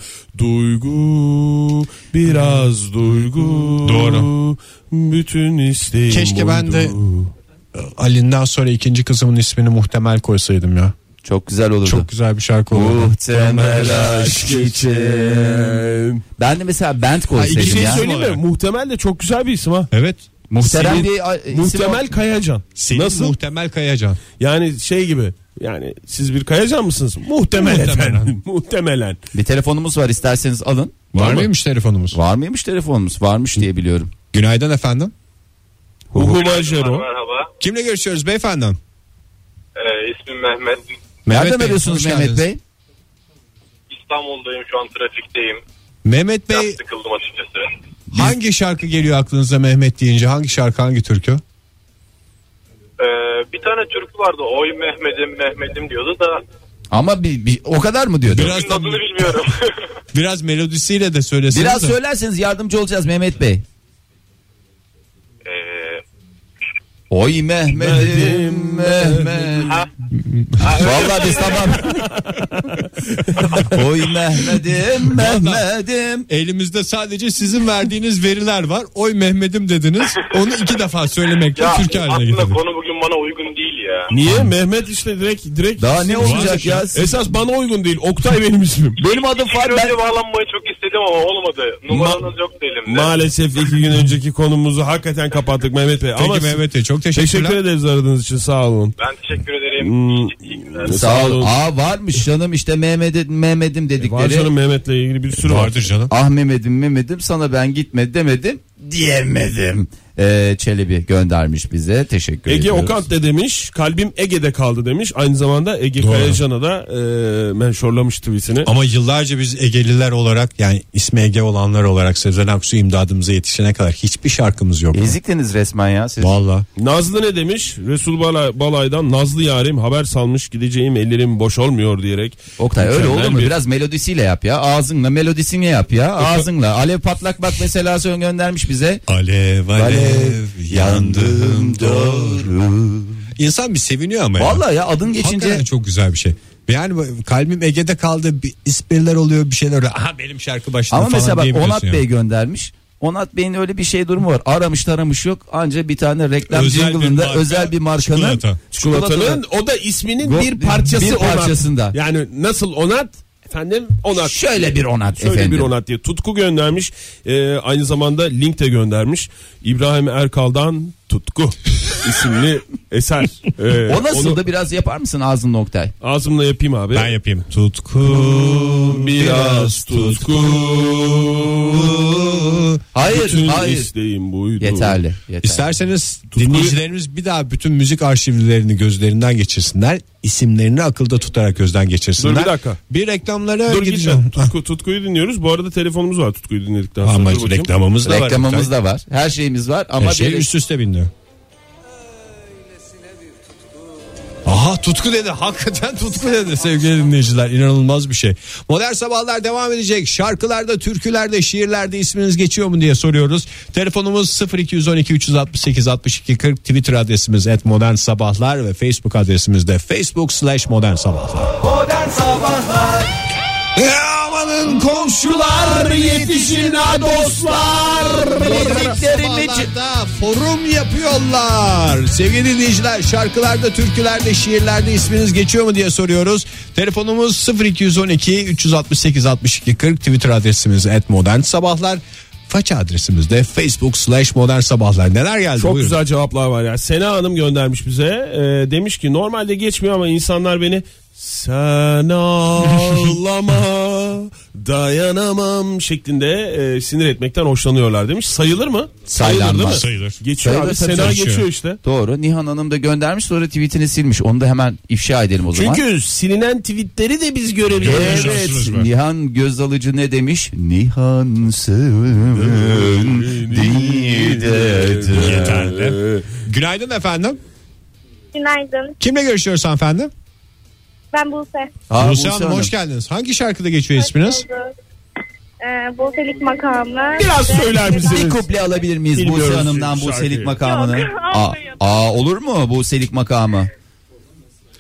E: Duygu biraz duygu.
C: Doğru.
E: Bütün isteğim
C: Keşke ben de-
E: buydu.
C: Ali'nden sonra ikinci kızımın ismini muhtemel koysaydım ya.
D: çok güzel olurdu.
C: Çok güzel bir şarkı oldu.
D: Muhtemel aşk için. Ben de mesela band
E: Bir
D: koysaydım
E: şey
D: ya.
E: söyleyeyim mi? Muhtemel de çok güzel bir isim ha.
C: Evet.
D: Muhterem
E: Senin-
D: bir a- isim
E: Muhtemel
D: ol-
E: Kayacan.
C: Senin
E: Nasıl?
C: muhtemel Kayacan.
E: yani şey gibi. Yani siz bir Kayacan mısınız? Muhtemelen. efendim. Muhtemelen.
D: bir telefonumuz var isterseniz alın.
C: Var mıymış telefonumuz?
D: Var mıymış telefonumuz? Varmış diye biliyorum.
C: Günaydın efendim.
E: Hugo Majero.
K: Merhaba.
C: Kimle görüşüyoruz beyefendi?
K: Ee, ismim Mehmet.
D: Nereden arıyorsunuz
C: hoş
D: Mehmet
C: geldiniz.
D: Bey?
K: İstanbul'dayım şu an trafikteyim.
C: Mehmet
K: Biraz
C: Bey
K: sıkıldım açıkçası.
C: hangi şarkı geliyor aklınıza Mehmet deyince? Hangi şarkı hangi türkü?
K: Ee, bir tane türkü vardı. Oy Mehmet'im Mehmet'im diyordu da.
D: Ama bir, bir- o kadar mı diyordu?
C: Biraz
K: Türkünün
C: da,
K: adını bilmiyorum.
C: biraz melodisiyle de söyleseniz.
D: Biraz
C: de.
D: söylerseniz yardımcı olacağız Mehmet Bey.
K: ee,
D: Oy Mehmet'im Mehmet. Vallahi biz tamam. Oy Mehmet'im Mehmet'im.
C: Elimizde sadece sizin verdiğiniz veriler var. Oy Mehmet'im dediniz. Onu iki defa söylemekle
K: ya
C: türkü haline
K: aslında
C: getirdik.
K: konu bugün bana uygun değil ya.
E: Niye? Mehmet işte direkt direkt
D: Daha ne olacak ya?
E: Esas bana uygun değil. Oktay benim ismim.
D: Benim adım
K: İki gün
D: Fahri. Ben-
K: önce bağlanmayı çok istedim ama olmadı. Numaranız yok da elimde.
E: Maalesef iki gün önceki konumuzu hakikaten kapattık Mehmet Bey.
C: Peki
E: Ama
C: Mehmet Bey çok teşekkürler.
E: teşekkür ederiz aradığınız için sağ olun.
K: Ben teşekkür ederim.
E: Hmm.
K: İyi- iyi günler.
D: Sağ
E: Sağ
D: ol.
E: olun.
D: Aa varmış canım işte Mehmet'im Mehmet'im
E: Var canım
D: dedikleri.
E: Mehmet'le ilgili bir sürü var.
C: Vardır canım.
D: Ah Mehmet'im Mehmet'im sana ben gitme demedim diyemedim. e, Çelebi göndermiş bize. Teşekkür
E: Ege
D: ediyoruz.
E: Okant de demiş. Kalbim Ege'de kaldı demiş. Aynı zamanda Ege Kayacan'a da e, menşorlamış tweetini.
C: Ama yıllarca biz Egeliler olarak yani ismi Ege olanlar olarak Sezen Aksu imdadımıza yetişene kadar hiçbir şarkımız yok.
D: Eziktiniz resmen ya siz.
C: Valla.
E: Nazlı ne demiş? Resul Bala- Balay'dan Nazlı yarim haber salmış gideceğim ellerim boş olmuyor diyerek.
D: Oktay öyle
E: Mükemmel
D: olur mu?
E: bir-
D: Biraz melodisiyle yap ya. Ağzınla melodisini yap ya. Ağzınla. Alev patlak bak mesela son göndermiş bize.
C: Alev alev yandım
D: doğru.
C: İnsan bir seviniyor ama ya.
D: Valla ya adın geçince
C: Hakikaten çok güzel bir şey. Yani bu- kalbim Ege'de kaldı. Bir espriler oluyor bir şeyler oluyor. Aha benim şarkı başladı
D: Ama
C: falan
D: mesela bak
C: diyemiyorsun
D: Onat
C: ya.
D: Bey göndermiş. Onat Bey'in öyle bir şey durumu var. Aramış taramış yok. Anca bir tane reklam
C: Özel bir
D: jingle'ında
C: marka,
D: özel bir markanın
C: çikolata.
E: Çikolatanın o da isminin
D: Go-
E: bir parçası
D: bir parçasında.
E: Onat. Yani nasıl Onat? Efendim Onat.
D: Şöyle bir Onat
E: Şöyle
D: efendim.
E: bir Onat diye. Tutku göndermiş. E, aynı zamanda link de göndermiş. İbrahim Erkal'dan Tutku isimli eser. E,
D: O nasıl
E: onu
D: da biraz yapar mısın ağzınla Oktay?
E: Ağzımla yapayım abi.
C: Ben yapayım. Tutku
E: Biraz tutku.
D: Hayır,
E: Bütün
D: hayır.
E: isteğim buydu.
D: Yeterli. yeterli.
C: İsterseniz dinleyicilerimiz bir daha bütün müzik arşivlerini gözlerinden geçirsinler. İsimlerini akılda tutarak gözden geçirsinler.
E: Dur bir dakika.
C: Bir reklamlara
E: Dur
C: gideceğim.
E: gideceğim. Tutku, tutkuyu dinliyoruz. Bu arada telefonumuz var tutkuyu dinledikten sonra.
C: Ama
E: Dur bakayım.
C: reklamımız da var.
D: Reklamımız da var. Her şeyimiz var ama
C: Her şey
D: bir-
C: üst üste biniyor. Aha tutku dedi. Hakikaten tutku dedi sevgili dinleyiciler. İnanılmaz bir şey. Modern Sabahlar devam edecek. Şarkılarda, türkülerde, şiirlerde isminiz geçiyor mu diye soruyoruz. Telefonumuz 0212 368 62 40. Twitter adresimiz et modern sabahlar ve Facebook adresimiz de facebook slash modern sabahlar.
B: Modern Sabahlar
C: Amanın komşular yetişin ha dostlar.
D: Müziklerini çı-
C: Sabahlarda forum yapıyorlar. Sevgili dinleyiciler şarkılarda, türkülerde, şiirlerde isminiz geçiyor mu diye soruyoruz. Telefonumuz 0212 368 62 40 Twitter adresimiz et modern sabahlar. Faça adresimiz de facebook slash modern sabahlar. Neler geldi?
E: Çok
C: Buyurun.
E: güzel cevaplar var ya. Sena Hanım göndermiş bize. Ee, demiş ki normalde geçmiyor ama insanlar beni sen ağlama dayanamam şeklinde e, sinir etmekten hoşlanıyorlar demiş. Sayılır mı?
D: Saylanmaz.
E: değil mi?
C: Sayılır.
E: Geçiyor
D: Sayılır
E: abi.
D: tabii.
E: Sena
C: Geçiyor.
E: geçiyor işte.
D: Doğru. Nihan Hanım da göndermiş sonra tweetini silmiş. Onu da hemen ifşa edelim o zaman.
E: Çünkü silinen tweetleri de biz görebiliyoruz.
D: Evet Nihan göz alıcı ne demiş? Nihansın didedir.
C: Yeterli. Günaydın efendim.
L: Günaydın.
C: Kimle görüşüyoruz hanımefendi?
L: Ben Buse.
D: Aa,
C: Buse Hanım hoş geldiniz. Hangi şarkıda geçiyor isminiz?
L: Ee, Buse'lik makamla.
E: Biraz söyler
D: Bir
E: misiniz?
D: kuple alabilir miyiz
E: Bilmiyoruz
D: Buse Hanım'dan
E: şarkıyı.
D: Buselik makamını?
L: Yok,
D: aa,
L: almayın.
D: aa, olur mu Buselik makamı?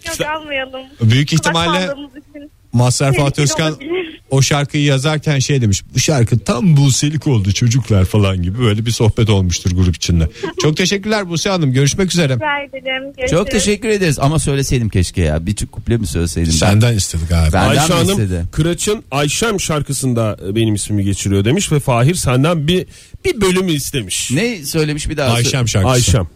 L: Yok
D: şey-
L: almayalım.
C: Büyük ihtimalle
L: Kulak için.
C: Mazhar Fuat
L: Tehlikeli
C: Özkan
L: olabilir.
C: o şarkıyı yazarken şey demiş. Bu şarkı tam Buse'lik oldu çocuklar falan gibi böyle bir sohbet olmuştur grup içinde. Çok teşekkürler Buse Hanım. Görüşmek üzere.
L: Rica ederim. Görüşürüz.
D: Çok teşekkür ederiz ama söyleseydim keşke ya. Bir tü- kuple mi söyleseydim? ben?
C: Senden istedik abi.
D: Ben-
E: Ayşe
D: Benden mi istedi?
E: Hanım Kıraç'ın Ayşem şarkısında e, benim ismimi geçiriyor demiş ve Fahir senden bir bir bölümü istemiş.
D: Ne söylemiş bir daha?
C: Ayşem şarkısı.
E: Ayşem.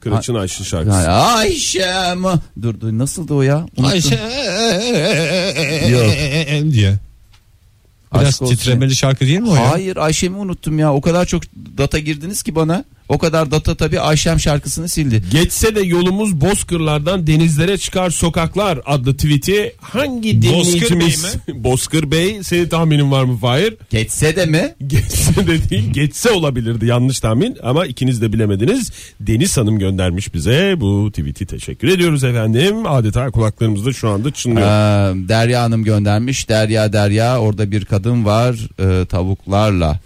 E: Kıraç'ın Ayşe şarkısı.
D: Ha, Ayşem. Dur dur nasıldı o ya? Unuttum.
C: Ayşem şey, diye. Biraz
D: Aşk olsun.
C: titremeli şarkı değil mi o ya?
D: Hayır Ayşem'i unuttum ya. O kadar çok data girdiniz ki bana. O kadar data tabii Ayşem şarkısını sildi.
E: Geçse de yolumuz bozkırlardan denizlere çıkar sokaklar adlı tweet'i hangi dinleyicimiz? Bozkır Bey senin tahminin var mı Fahir?
D: Geçse de mi?
E: Geçse de değil geçse olabilirdi yanlış tahmin ama ikiniz de bilemediniz. Deniz Hanım göndermiş bize bu tweet'i teşekkür ediyoruz efendim. Adeta kulaklarımızda şu anda çınlıyor.
D: Ee, Derya Hanım göndermiş. Derya Derya orada bir kadın var e, tavuklarla.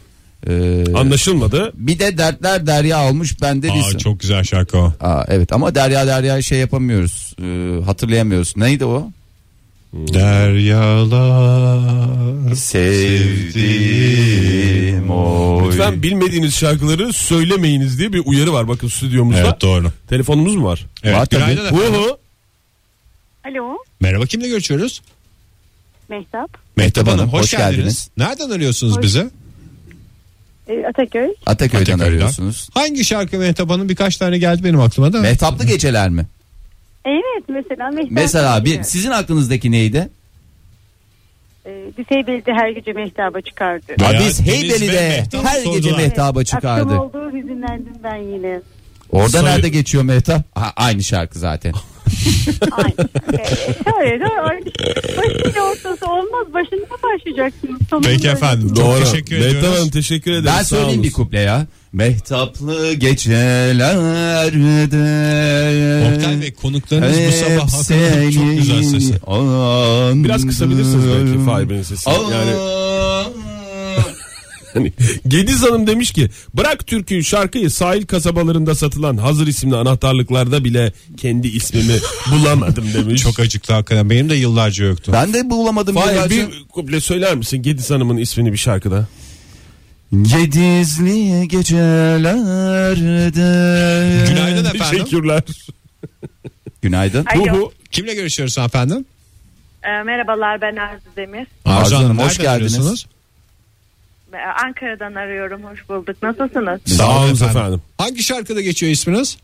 D: Ee,
E: Anlaşılmadı.
D: bir de dertler Derya olmuş. Ben de bir...
C: Aa, çok güzel şarkı o.
D: Aa, evet ama Derya Derya şey yapamıyoruz. Ee, hatırlayamıyoruz. Neydi o?
C: Deryalar.
D: Sevdim o.
E: Lütfen bilmediğiniz şarkıları söylemeyiniz diye bir uyarı var bakın stüdyomuzda.
C: Evet doğru.
E: Telefonumuz mu var?
C: Evet,
D: Var tabii.
C: günaydın efendim.
E: Uhu.
L: Alo.
C: Merhaba kimle görüşüyoruz?
L: Mehtap.
C: Mehtap Hanım
D: Hanım,
C: hoş,
D: hoş
C: geldiniz.
D: geldiniz.
C: Nereden arıyorsunuz bizi?
L: Ee, Ataköy.
D: Ataköy'den,
C: Ataköy'den.
D: arıyorsunuz.
C: Hangi şarkı Mehtap Hanım? Birkaç tane geldi benim aklıma da.
D: Mehtaplı geceler mi?
L: Evet mesela Mehtap.
D: Mesela bir sizin aklınızdaki neydi?
L: Ee, Düsey Belediye her gece Mehtap'a çıkardı.
D: Ha,
C: Veya
D: biz
C: Deniz ve
D: Heybeli'de
C: Mehtap
D: her gece
C: sordular.
D: mehtaba çıkardı.
L: Akşam olduğu çok hüzünlendim ben yine.
D: Orada
E: Soy-
D: nerede geçiyor Mehtap? Ha, aynı şarkı zaten.
L: Ay, e, şöyle de ay, başın ortası olmaz. Başında başlayacaksınız. Sonunda
C: Peki efendim. Çok
E: Doğru.
C: teşekkür
E: Mehtap
C: ediyoruz.
E: Hanım teşekkür ederim.
D: ben
E: Sağ
D: söyleyeyim
E: olun.
D: bir kuple ya. Mehtaplı gecelerde
C: Oktay Bey konuklarınız bu sabah hakikaten çok güzel sesi.
E: Biraz kısabilirsiniz belki Fahir Bey'in sesini. Yani Hani Gediz Hanım demiş ki bırak türküyü şarkıyı sahil kasabalarında satılan hazır isimli anahtarlıklarda bile kendi ismimi bulamadım demiş.
C: Çok acıktı hakikaten. Benim de yıllarca yoktu.
D: Ben de bulamadım.
E: Fahir
D: yıllarca.
E: bir kuple söyler misin Gediz Hanım'ın ismini bir şarkıda?
D: Gedizli gecelerde.
C: Günaydın efendim.
E: Teşekkürler.
D: Günaydın.
L: Alo.
E: Ruhu
C: Kimle görüşüyoruz efendim?
L: E, merhabalar ben Arzu Demir.
D: Arzu Hanım, hoş
C: nereden
D: geldiniz.
C: arıyorsunuz?
L: E, Ankara'dan arıyorum. Hoş bulduk. Nasılsınız?
E: Sağ olun efendim.
C: Hangi şarkıda geçiyor isminiz?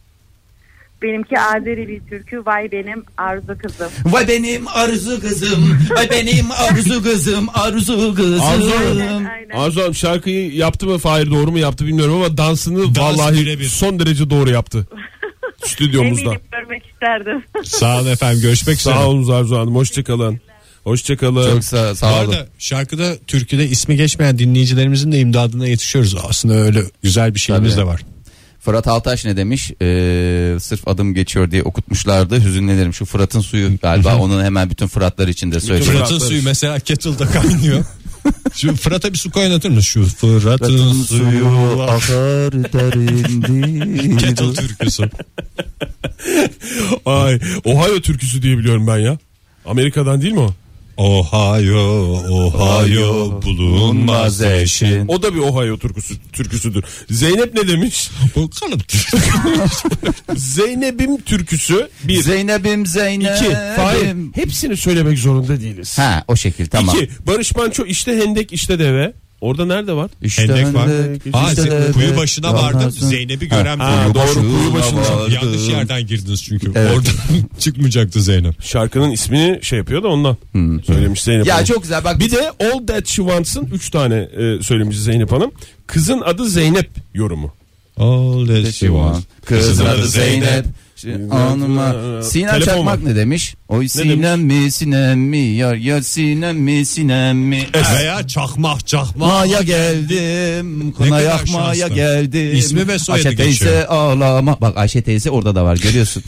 L: Benimki Azeri bir türkü. Vay benim arzu kızım.
D: Vay benim arzu kızım. Vay benim arzu kızım. Arzu kızım.
E: Arzu
L: Aynen,
E: Hanım.
L: aynen.
E: Arzu Hanım şarkıyı yaptı mı Fahir doğru mu yaptı bilmiyorum ama dansını
C: Dans
E: vallahi
C: birebir.
E: son derece doğru yaptı. Stüdyomuzda.
L: Eminim görmek isterdim.
C: Sağ olun efendim. Görüşmek üzere.
E: Sağ olun Arzu Hanım hoşçakalın. Hoşçakalın.
D: Çok sağ,
C: Bu
D: sağ olun.
C: arada şarkıda türküde ismi geçmeyen dinleyicilerimizin de imdadına yetişiyoruz. Aslında öyle güzel bir şeyimiz
D: Tabii.
C: de var.
D: Fırat Altaş ne demiş? Ee, sırf adım geçiyor diye okutmuşlardı. Hüzünlenirim şu Fırat'ın suyu galiba. onun hemen bütün Fıratlar içinde söylüyor.
C: Fırat'ın suyu mesela kettle'da kaynıyor. Şu Fırat'a bir su kaynatır mı? Şu Fırat'ın suyu
D: akar
C: kettle
D: derindi.
C: türküsü.
E: Ay Ohio türküsü diye biliyorum ben ya. Amerika'dan değil mi o?
C: Ohio, Ohio bulunmaz eşin.
E: O da bir Ohio türküsü, türküsüdür. Zeynep ne demiş?
C: Bu kalıp
E: Zeynep'im türküsü bir.
D: Zeynep'im Zeynep'im.
E: iki. Fahir. Hepsini söylemek zorunda değiliz.
D: Ha o şekil tamam.
E: İki. Barış Manço işte hendek işte deve. Orada nerede var?
D: İşte
C: Hendek var.
D: hendek,
C: Aa,
D: işte
C: Ze-
D: de-
C: kuyu başına vardım.
D: Yalnızsın.
C: Zeynep'i görem
E: Ha,
C: dedim.
E: doğru, kuyu başına
D: vardım.
C: Yanlış yerden girdiniz çünkü.
D: Evet.
C: Oradan çıkmayacaktı Zeynep.
E: Şarkının ismini şey yapıyor da ondan söylemiş Zeynep
D: Hmm. Ya
E: Hanım.
D: çok güzel bak.
E: Bir de All That She Wants'ın 3 tane e, söylemiş Zeynep Hanım. Kızın adı Zeynep yorumu.
C: All that she wants.
D: Kızın adı Zeynep. Anıma. Sinem
E: Telefon
D: Çakmak
E: var.
D: ne demiş? Oy Sinem mi Sinem mi yar yar Sinem mi Sinem mi?
C: Veya çakmak çakmak.
D: Maya geldim,
C: kadar
D: kına yakmaya
C: şanslı.
D: geldim.
C: İsmi ve soyadı
D: Ayşe teyze
C: geçiyor.
D: ağlama. Bak Ayşe teyze orada da var görüyorsun.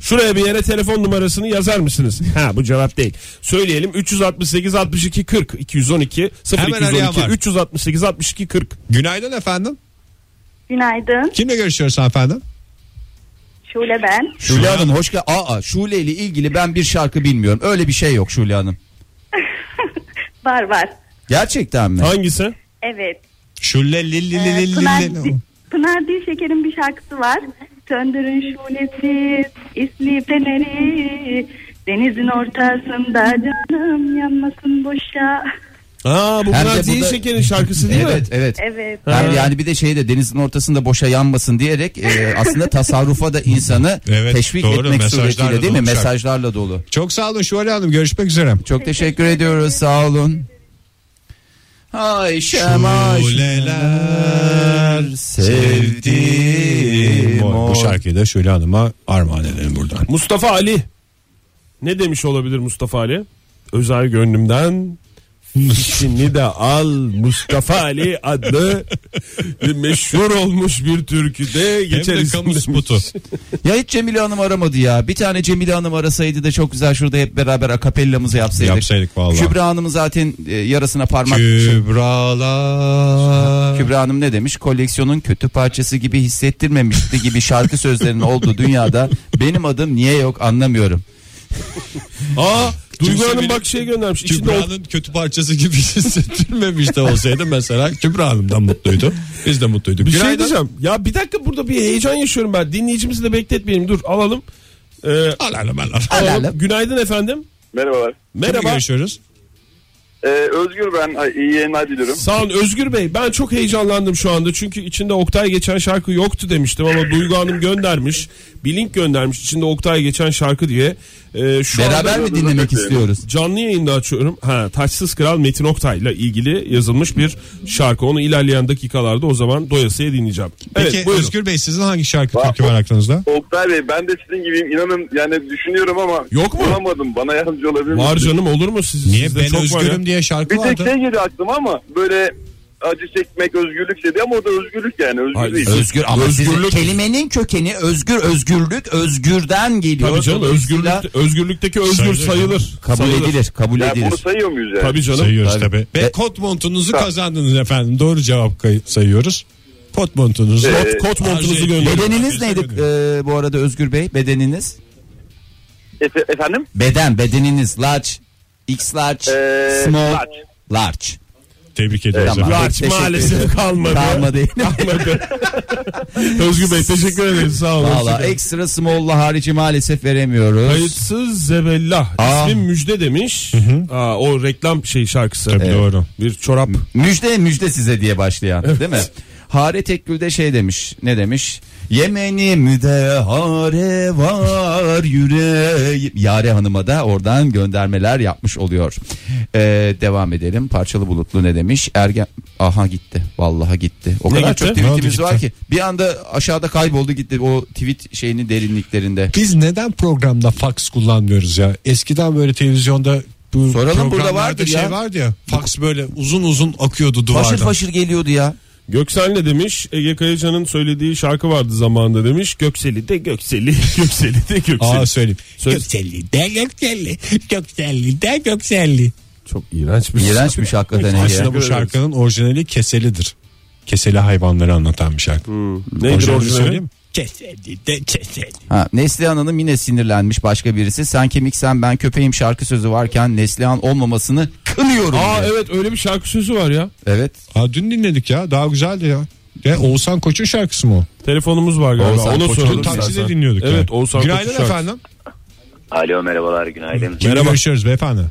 E: Şuraya bir yere telefon numarasını yazar mısınız? Ha bu cevap değil. Söyleyelim 368 62 40 212
C: Hemen arayan
E: 0212
C: var.
E: 368 62 40.
C: Günaydın efendim.
L: Günaydın.
C: Kimle görüşüyoruz efendim?
L: Şule ben.
D: Şule Hanım hoş geldin. Aa Şule ile ilgili ben bir şarkı bilmiyorum. Öyle bir şey yok Şule Hanım.
L: Var var.
D: Gerçekten mi?
E: Hangisi?
L: Evet.
C: Şulle lilli
L: Ee,
C: lilli
L: Pınar,
C: lilli.
L: Pınar Dilşeker'in bir şarkısı var. Söndürün şulesi, isli feneri. Denizin ortasında canım yanmasın boşa.
E: Aa bu
D: Hem de
E: Bülent
D: burada-
E: Zilşeker'in şarkısı değil mi?
D: Evet evet.
L: Evet.
D: Hem yani bir de şey de denizin ortasında boşa yanmasın diyerek e, aslında tasarrufa da insanı
C: Evet,
D: teşvik
C: doğru.
D: etmek
C: Mesajlarla
D: suretiyle değil
C: dolu
D: mi?
C: bir şarkı.
D: Mesajlarla dolu.
C: Çok sağ olun Şule Hanım. Görüşmek üzere.
D: Çok teşekkür ediyoruz sağ olun. Ayşem
C: Şuleler
D: Ayşem sevdim.
C: Bu şarkıyı da Şule Hanım'a armağan edelim buradan.
E: Mustafa Ali. Ne demiş olabilir Mustafa Ali? Özel gönlümden İçini de al Mustafa Ali adlı bir meşhur olmuş bir türküde
C: Hem
E: geçer
C: de
E: isim
C: kamu
E: demiş.
C: spotu.
D: Ya hiç Cemile Hanım aramadı ya. Bir tane Cemile Hanım arasaydı da çok güzel şurada hep beraber akapellamızı yapsaydık.
C: Yapsaydık vallahi.
D: Kübra Hanım'ın zaten e, yarasına parmak...
C: Kübralar.
D: Kübra Hanım ne demiş? Koleksiyonun kötü parçası gibi hissettirmemişti gibi şarkı sözlerinin olduğu dünyada benim adım niye yok anlamıyorum.
E: Aa Duygu
C: Kimse
E: Hanım
C: bile-
E: bak şey göndermiş. İçinde o-
C: Kübra'nın kötü parçası gibi hissettirmemiş de olsaydı mesela Kübra Hanım da mutluydu. Biz de mutluyduk.
E: Bir şey
C: Günaydın.
E: diyeceğim. Ya bir dakika burada bir heyecan yaşıyorum ben. Dinleyicimizi de bekletmeyelim. Dur alalım. Ee,
C: Alalım alalım.
E: alalım.
D: alalım.
E: Günaydın efendim.
K: Merhabalar.
C: Merhaba.
E: Merhaba.
C: görüşüyoruz?
K: Ee, Özgür ben. Ay, İyi yayınlar diliyorum.
E: Sağ olun Özgür Bey. Ben çok heyecanlandım şu anda. Çünkü içinde Oktay geçen şarkı yoktu demiştim ama Duygu Hanım göndermiş. Bir link göndermiş içinde Oktay geçen şarkı diye. Ee, Ee, şu
D: Beraber
E: anda-
D: mi dinlemek istiyoruz?
E: Canlı yayında açıyorum. Ha, Taçsız Kral Metin Oktay'la ilgili yazılmış bir şarkı. Onu ilerleyen dakikalarda o zaman doyasıya dinleyeceğim.
C: Peki
E: evet, buyurun.
C: Özgür Bey sizin hangi şarkı
K: Va-
C: türkü var aklınızda?
K: Oktay Bey ben de sizin gibiyim inanın yani düşünüyorum ama
E: Yok mu?
K: bulamadım bana yardımcı olabilir misiniz?
E: Var canım olur mu siz?
C: Niye
E: sizde
C: ben
E: çok var ya.
C: özgürüm diye şarkı
K: Bir tek
C: vardı?
K: şey geldi aklıma ama böyle acı çekmek özgürlük dedi ama o da özgürlük yani özgür
E: Hayır,
K: değil.
D: Özgür ama
E: Özgürlük-
D: sizin kelimenin kökeni özgür özgürlük özgürden geliyor.
E: Tabii canım özgürlük,
D: Dolayısıyla
E: özgürlükteki özgür
C: Sayılır.
E: sayılır.
D: kabul
E: Sayılır.
D: edilir, kabul
K: Yani bunu
D: edilir.
K: sayıyor muyuz yani?
E: Tabii canım.
C: Sayıyoruz
D: Tabii.
C: tabii. Ve
D: Ve-
C: kot montunuzu kazandınız efendim. Doğru cevap kay- sayıyoruz. Kot montunuzu.
K: Ee,
E: Kot, kot montunuzu
C: Arzu-
E: gönderin.
D: Bedeniniz neydi e, bu arada Özgür Bey? Bedeniniz?
K: Efe- efendim?
D: Beden, bedeniniz large, x large,
K: Ee,
D: small, large.
K: large.
C: Tebrik ederiz
D: Tamam.
C: efendim.
E: Large
D: Teşekkür ederim.
E: maalesef kalmadı.
D: Kalmadı.
E: Kalmadı. Özgür Bey teşekkür ederim sağ olun.
D: Valla ekstra small'la harici maalesef veremiyoruz.
E: Kayıtsız Zebella.
D: Aa.
E: İsmim Müjde demiş. Aa, o reklam şey şarkısı.
C: Tabii doğru.
E: Bir çorap.
D: Müjde müjde size diye başlayan değil mi? Hare Tekgül de şey demiş. Ne demiş? Yemenimde hare var yüreğim. Yare Hanım'a da oradan göndermeler yapmış oluyor. Ee, devam edelim. Parçalı Bulutlu ne demiş? Ergen... Aha gitti. Vallahi gitti. O
E: Ne
D: kadar
E: gitti?
D: çok
C: Ne oldu
D: tweetimiz
C: gitti?
D: var ki. Bir anda aşağıda kayboldu gitti. O tweet şeyinin derinliklerinde.
C: Biz neden programda fax kullanmıyoruz ya? Eskiden böyle televizyonda bu
D: Soralım, burada
C: programlarda
D: vardır
C: şey
D: ya.
C: vardı ya. Fax böyle uzun uzun akıyordu duvardan.
D: Faşır faşır geliyordu ya.
E: Göksel ne demiş? Ege Kayacan'ın söylediği şarkı vardı zamanında demiş. Gökseli de Gökseli, Gökseli de Gökseli.
C: Aa söyleyeyim.
E: Söyle.
C: Gökselli de gökselli. Gökselli de gökselli.
E: Çok iğrenç bir
D: İğrençmiş hakikaten. Ege.
C: Aslında bu şarkının orijinali keselidir. Keseli hayvanları anlatan bir şarkı.
E: Neydi
C: Orijinalini
E: orijinali?
C: söyleyeyim mi? Keseli de keseli.
D: Ha, Neslihan Hanım yine sinirlenmiş başka birisi. Sen kemik sen ben köpeğim şarkı sözü varken Neslihan olmamasını kınıyorum.
E: Aa
D: diyor.
E: evet öyle bir şarkı sözü var ya.
D: evet.
C: Aa, dün dinledik ya daha güzeldi ya. Ya Oğuzhan Koç'un şarkısı mı o?
E: Telefonumuz var galiba.
D: Oğuzhan
E: Ona
D: Koç'un
E: soralım.
C: Dün takside
E: istersen.
C: dinliyorduk.
E: Evet
C: ya.
E: Oğuzhan
C: Günaydın
E: Koç'un şarkısı.
C: efendim.
K: Alo merhabalar günaydın.
C: Merhaba.
E: Merhaba.
C: Görüşüyoruz beyefendi.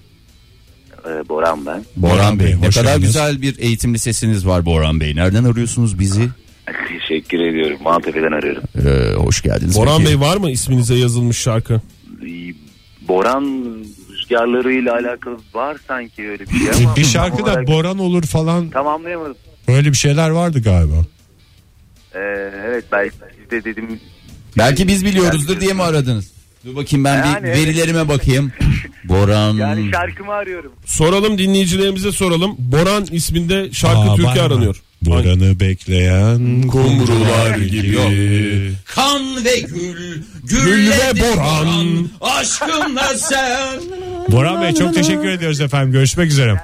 K: Ee, Boran ben.
D: Boran Bey. Ne
C: hoş
D: kadar
C: geldiniz.
D: güzel bir eğitim lisesiniz var Boran Bey. Nereden arıyorsunuz bizi?
K: Teşekkür ediyorum. Maltepe'den arıyorum.
D: Ee, hoş geldiniz.
E: Boran
D: Peki.
E: Bey var mı isminize yazılmış şarkı?
K: Ee, Boran rüzgarlarıyla alakalı var sanki öyle bir şey ama.
C: Bir şarkı da Boran olur falan
K: Tamamlayamadım.
C: böyle bir şeyler vardı galiba.
K: Ee, evet belki siz de dedim
D: Belki biz biliyoruzdur diye mi aradınız? Dur bakayım ben
K: Yani
D: bir
K: evet.
D: verilerime bakayım. Boran.
K: yani şarkımı arıyorum.
E: Soralım dinleyicilerimize soralım. Boran isminde şarkı
C: Aa,
E: türkü
C: bana.
E: aranıyor. Hangi-
C: Boran'ı bekleyen kumrular gibi.
D: Kan ve gül,
E: Gül ve Boran.
D: aşkımla sen.
C: Boran Bey çok teşekkür ediyoruz efendim. Görüşmek üzere.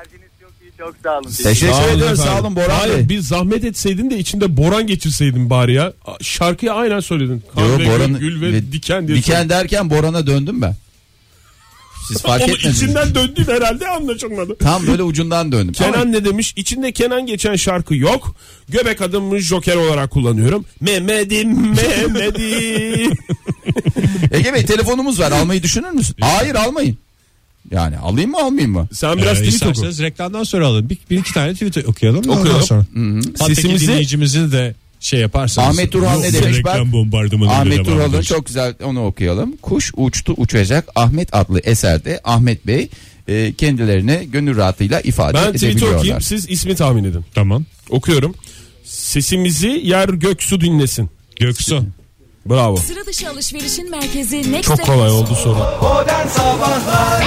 K: Çok sağ olun.
E: Sağ
D: Teşekkür
E: olun
D: ederim.
E: efendim.
D: Sağ olun Boran
E: Hayır,
D: Bey.
E: Bir zahmet etseydin de içinde Boran geçirseydin bari ya. Şarkıyı aynen söyledin. Kan
D: Yo,
E: ve
D: Boran-
E: gül, gül ve, diken diye.
D: Diken derken Boran'a döndüm ben. Siz fark
E: Onu
D: etmediniz.
E: içinden döndüğün herhalde anlaşılmadı.
D: Tam böyle ucundan döndüm. Ama
E: Kenan ne demiş? İçinde Kenan geçen şarkı yok. Göbek adımı joker olarak kullanıyorum. Mehmet'im Mehmet'im.
D: Ege Bey telefonumuz var almayı düşünür müsün? Hayır almayın. Yani alayım mı almayayım mı?
E: Sen biraz
C: Ee,
E: tweet oku.
C: isterseniz reklamdan sonra alalım. Bir, bir iki tane tweet okuyalım. da Ondan
E: Okuyalım.
C: sonra. Hatta
E: Sesimizi-
C: Sesimizi... dinleyicimizin de şey yaparsanız.
D: Ahmet Turhan ne
C: Yoksa
D: demiş
C: reklam
D: ben?
C: bombardımanıyla
D: Ahmet
C: devam
D: Tural'ın
C: ederiz.
D: çok güzel onu okuyalım. Kuş uçtu uçacak Ahmet adlı eserde Ahmet Bey e, kendilerini gönül rahatıyla ifade
E: Ben tweet okuyayım
D: edebiliyorlar.
E: siz ismi tahmin edin.
C: Tamam.
E: Okuyorum. Sesimizi yer göksu dinlesin.
C: Göksu.
E: Bravo.
M: Sıra dışı alışverişin merkezi Next
E: Çok kolay oldu soru.
B: Modern Sabahlar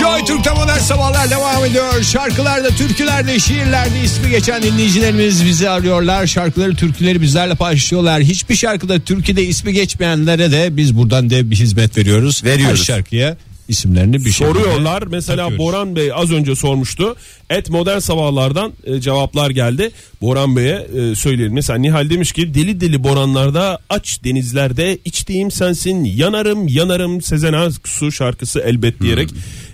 C: Joy Türk'te modern sabahlar devam ediyor. Şarkılarda, türkülerde, şiirlerde ismi geçen dinleyicilerimiz bizi arıyorlar. Şarkıları, türküleri bizlerle paylaşıyorlar. Hiçbir şarkıda, türküde ismi geçmeyenlere de biz buradan dev bir hizmet veriyoruz.
D: Veriyoruz.
C: Her şarkıya isimlerini bir şey
E: Soruyorlar. Mesela
C: takıyoruz.
E: Boran Bey az önce sormuştu. Et modern sabahlardan e, cevaplar geldi. Boran Bey'e e, söyleyelim. Mesela Nihal demiş ki deli deli boranlarda aç denizlerde içtiğim sensin yanarım yanarım Sezen Aksu şarkısı elbet diyerek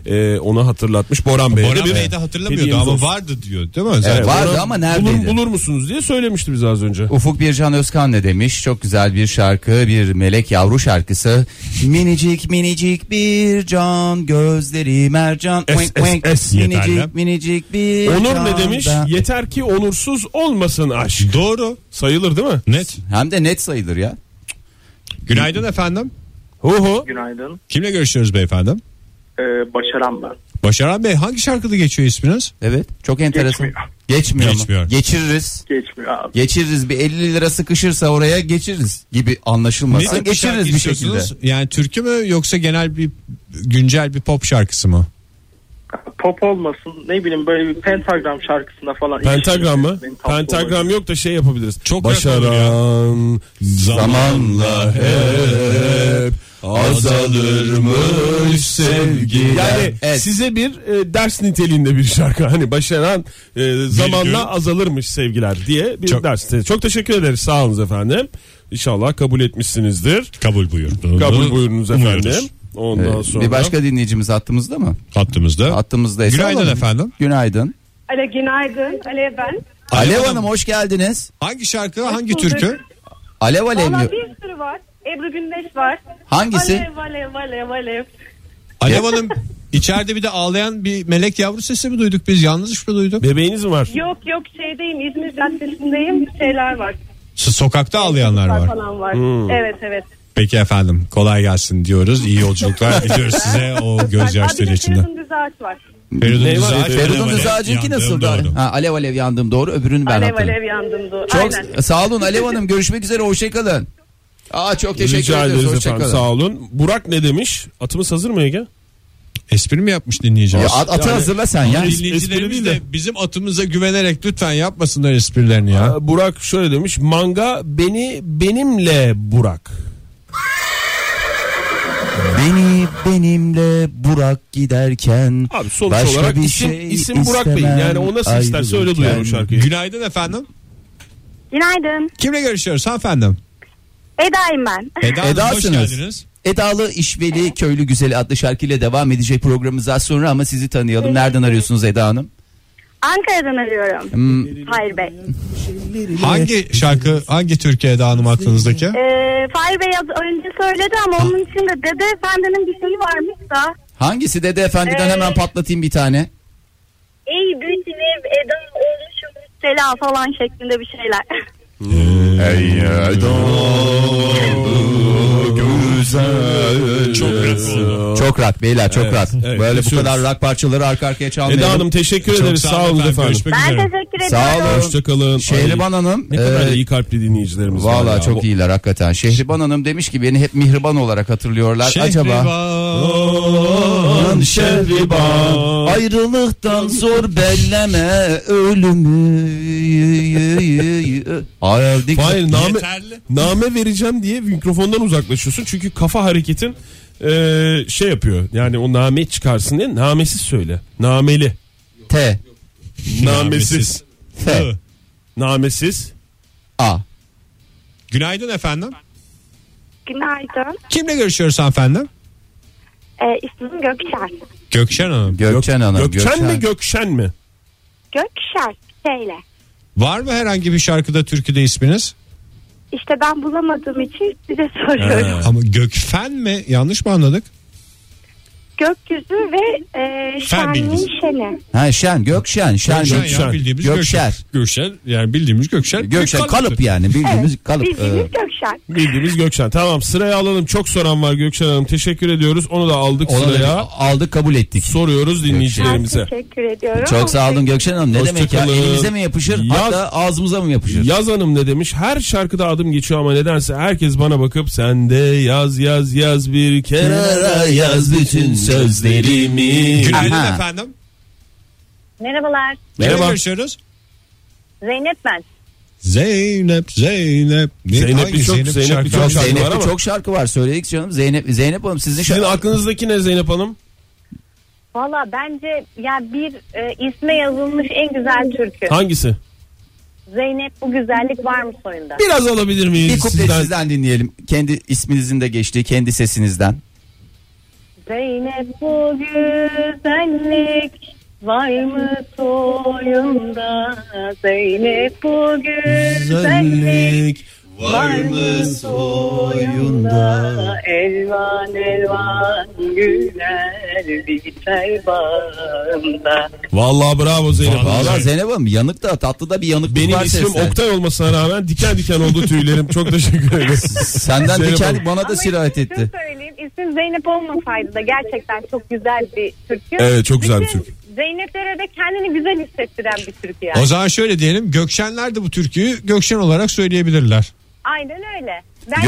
E: e, onu hatırlatmış Boran Bey'e. de
C: Hmm. Boran
E: bir
C: Bey şey de hatırlamıyordu
E: hediyemiz
C: ama
E: olsun.
C: vardı diyor değil mi? Zaten
E: Evet,
D: Vardı
E: Boran,
D: ama neredeydi?
E: Bulur, bulur musunuz diye söylemişti bize az önce.
D: Ufuk Bircan Özkan ne demiş? Çok güzel bir şarkı, bir melek yavru şarkısı. Minicik minicik bir can, gözleri mercan.
E: Es,
D: Oink,
E: es,
D: oink.
E: es,
C: yeterli.
D: minicik minicik bir
E: Onur ne
D: can
E: demiş?
D: da-
E: Yeter ki onursuz olmasın aşk.
C: Doğru.
E: Sayılır değil mi?
C: Net.
D: Hem de net sayılır ya.
C: Günaydın efendim.
N: Günaydın.
C: Kimle görüşüyoruz beyefendi?
N: Ee, başaran ben.
C: Başaran Bey hangi şarkıda geçiyor isminiz?
D: Evet çok enteresan.
N: Geçmiyor.
D: Geçmiyor,
C: Geçmiyor.
D: mu? Geçiririz.
N: Geçmiyor abi.
D: Geçiririz bir 50 lira sıkışırsa oraya geçiririz gibi anlaşılmasın.
C: Ne tip şarkı
D: geçiririz bir şekilde.
C: istiyorsunuz? Yani türkü mü yoksa genel bir güncel bir pop şarkısı mı?
N: Pop olmasın ne bileyim böyle bir pentagram şarkısında falan.
E: Pentagram mı?
N: Benim tavsiye
E: Pentagram yok da şey yapabiliriz. Çok
C: Başaran
E: zamanla
C: hep
E: azalırmış sevgi. Yani
D: Evet.
E: size bir e, ders niteliğinde bir şarkı. Hani başaran e, zamanla azalırmış sevgiler diye bir ders. Çok teşekkür ederiz. Sağ olun efendim. İnşallah kabul etmişsinizdir.
C: Kabul buyurdunuz.
E: Kabul buyurunuz
C: Umuyoruz.
E: efendim. Ondan
D: Ee,
E: sonra
D: Bir başka dinleyicimiz hattımızda mı?
C: Hattımızda.
D: Hattımızdaysa
C: Günaydın
D: alalım.
C: efendim.
D: Günaydın.
L: Ale günaydın. Ale ben.
D: Alev, Hanım, hoş geldiniz.
C: Hangi şarkı hangi
L: bulduk. türkü?
D: Alev Alev mi?
L: Valla bir sürü var. Ebru Gündeş var.
D: Hangisi?
L: Alev alev alev alev.
C: Alev Hanım içeride bir de ağlayan bir melek yavru sesi mi duyduk biz? Yanlış mı duyduk?
E: Bebeğiniz mi var?
L: Yok yok şeydeyim İzmir Caddesi'ndeyim şeyler var.
C: Sokakta ağlayanlar var.
L: Falan var.
C: Hmm.
L: Evet evet.
C: Peki efendim kolay gelsin diyoruz. İyi yolculuklar diliyoruz size o gözyaşları içinde.
L: Feridun Düzağaç var.
C: Feridun
D: Ne var?
C: Düzağaç, Alev
D: Feridun
C: Alev
D: Düzağaç'ınki
C: yandım,
D: nasıl?
C: doğru.
D: Ha, alev Alev yandım doğru öbürünü ben
L: alev
D: hatırladım.
L: alev yandım. doğru.
D: Çok
L: Aynen.
D: sağ olun Alev Hanım görüşmek üzere hoşçakalın. Aa çok teşekkür
E: Rica
D: ederiz
E: ederiz efendim.
D: hoşçakalın.
E: Sağ olun. Burak ne demiş? Atımız hazır mı Ege?
C: Espri mi yapmış dinleyeceğiz?
D: Ya at- atı hazırla sen ya.
C: Dinleyicilerimiz de bizim atımıza güvenerek lütfen yapmasınlar esprilerini ya.
E: Ee, Burak şöyle demiş. Manga beni benimle Burak.
D: Beni benimle Burak giderken
E: Abi sonuç olarak isim,
D: şey
E: isim Burak Bey. Yani o nasıl isterse öyle duyar o şarkıyı.
C: Günaydın efendim.
I: Günaydın.
C: Kimle görüşüyoruz hanımefendim?
I: Eda'yım ben.
C: Eda Hanım, hoş
D: Eda'sınız.
C: geldiniz.
D: Edalı İşveli Köylü Güzeli adlı şarkıyla devam edecek programımız az sonra ama sizi tanıyalım. Nereden arıyorsunuz Eda Hanım?
I: Ankara'dan arıyorum.
D: Hmm,
I: Fahir Bey.
C: Hangi şarkı, hangi Türkiye Eda Hanım aklınızdaki?
I: Ee, Fahir Bey az önce söyledi ama onun için de Dede Efendi'nin bir şeyi varmış da.
D: hangisi Dede Efendi'den
I: Ee,
D: hemen patlatayım bir tane.
I: Ey bütünüm Eda olmuşum Sela falan şeklinde bir şeyler.
C: Çok rahat oldu.
D: Çok rahat beyler çok
E: Evet,
D: rahat.
E: evet,
D: Böyle bu
E: geçiyoruz.
D: kadar rock parçaları arka arkaya çalmayalım.
E: Eda Hanım teşekkür
C: Çok
E: ederiz.
C: sağ
E: Sağ
C: olun
E: olun
C: efendim.
E: efendim.
C: Görüşmek
I: ben
C: üzere.
I: teşekkür ederim.
D: Sağ olun.
E: Hoşçakalın.
D: Şehriban Hanım.
E: Ne kadar
D: e,
E: iyi kalpli dinleyicilerimiz var.
D: Valla
E: ya.
D: çok iyiler hakikaten. Şehriban Hanım demiş ki beni hep mihriban olarak hatırlıyorlar. Acaba
C: Şehriban,
D: Şehriban. ayrılıktan zor belleme ölümü. Hayır, dik-
E: Hayır name,
C: Yeterli.
E: name vereceğim diye mikrofondan uzaklaşıyorsun. Çünkü kafa hareketin e, şey yapıyor. Yani o name çıkarsın diye namesiz söyle. Nameli.
D: T.
E: Namesiz.
D: T.
E: Namesiz.
D: A.
C: Günaydın efendim.
I: Günaydın.
C: Kimle görüşüyoruz hanımefendi?
I: Ee, ismim Gökşer.
C: Gökşen Hanım.
D: Gökçen Hanım.
E: Gökçen, mi Gökşen mi?
I: Gökşer şeyle.
C: Var mı herhangi bir şarkıda türküde isminiz?
I: İşte ben bulamadığım için size soruyorum.
C: Ama Gökfen mi? Yanlış mı anladık?
I: Gökyüzü ve e,
C: bilgisi.
I: şenliğin şeni.
D: Ha Şen. Gökşen. Şen.
C: Gökşen,
D: Gökşen.
C: ya bildiğimiz Gökşen.
D: Gökşer.
C: Gökşen yani bildiğimiz Gökşen.
D: Gökşen kalıp yani bildiğimiz
I: Evet,
D: kalıp.
I: bildiğiniz
D: Ee,
I: Gökşer.
E: Bildiğimiz Gökşen. Tamam sıraya alalım. Çok soran var Gökşen Hanım. Teşekkür ediyoruz. Onu da aldık
D: ona da
E: sıraya.
D: bir aldık kabul ettik.
E: Soruyoruz
I: Ben
E: dinleyicilerimize.
I: teşekkür ediyorum.
D: Çok sağ olun Gökşen Hanım. Ne demek ya?
E: Hoşçakalın.
D: Elimize mi yapışır?
E: Yaz-
D: Hatta ağzımıza mı yapışır?
E: Yaz Hanım ne demiş? Her şarkıda adım geçiyor ama nedense herkes bana bakıp sen de yaz yaz yaz bir kenara yaz bütün sözlerimi.
C: Günaydın
D: Aha.
C: efendim.
I: Merhabalar.
C: Kimle
E: Merhaba.
C: görüşüyoruz?
I: Zeynep ben.
C: Zeynep, Zeynep. Ne-
E: Zeynep
C: hangi
E: birçok- Zeynep
C: şarkı?
E: birçok şarkı-
D: Zeynep'te
E: var ama-
D: çok şarkı var söyledik canım. Zeynep Zeynep Hanım sizin,
E: Sizin
D: şarkı-
E: aklınızdaki ne Zeynep Hanım?
I: Valla bence ya bir e, isme yazılmış en güzel türkü.
E: Hangisi?
I: Zeynep bu güzellik var mı soyunda?
E: Biraz alabilir miyiz
D: bir kuplet sizden...
E: sizden?
D: dinleyelim. Kendi isminizin de geçtiği kendi sesinizden.
I: Zeynep bu güzellik var mı soyunda? Zeynep bu güzellik var mı soyunda? Elvan elvan güler biter bağında.
E: Vallahi bravo Zeynep Hanım.
D: Valla Zeynep Hanım yanık da tatlı da bir yanık
E: Benim
D: var
E: ismim
D: sesler.
E: Oktay olmasına rağmen diken diken oldu tüylerim. Çok teşekkür ederim.
D: Senden
E: Zeynep
D: diken
E: Hanım.
D: bana da sirayet etti.
I: söyleyeyim türküsün Zeynep olmasaydı da gerçekten çok güzel bir türkü.
E: Evet, çok güzel bir
I: Bütün
E: türkü.
I: Zeyneplere de kendini güzel hissettiren bir türkü yani.
C: O zaman şöyle diyelim Gökşenler de bu türküyü Gökşen olarak söyleyebilirler.
I: Aynen öyle.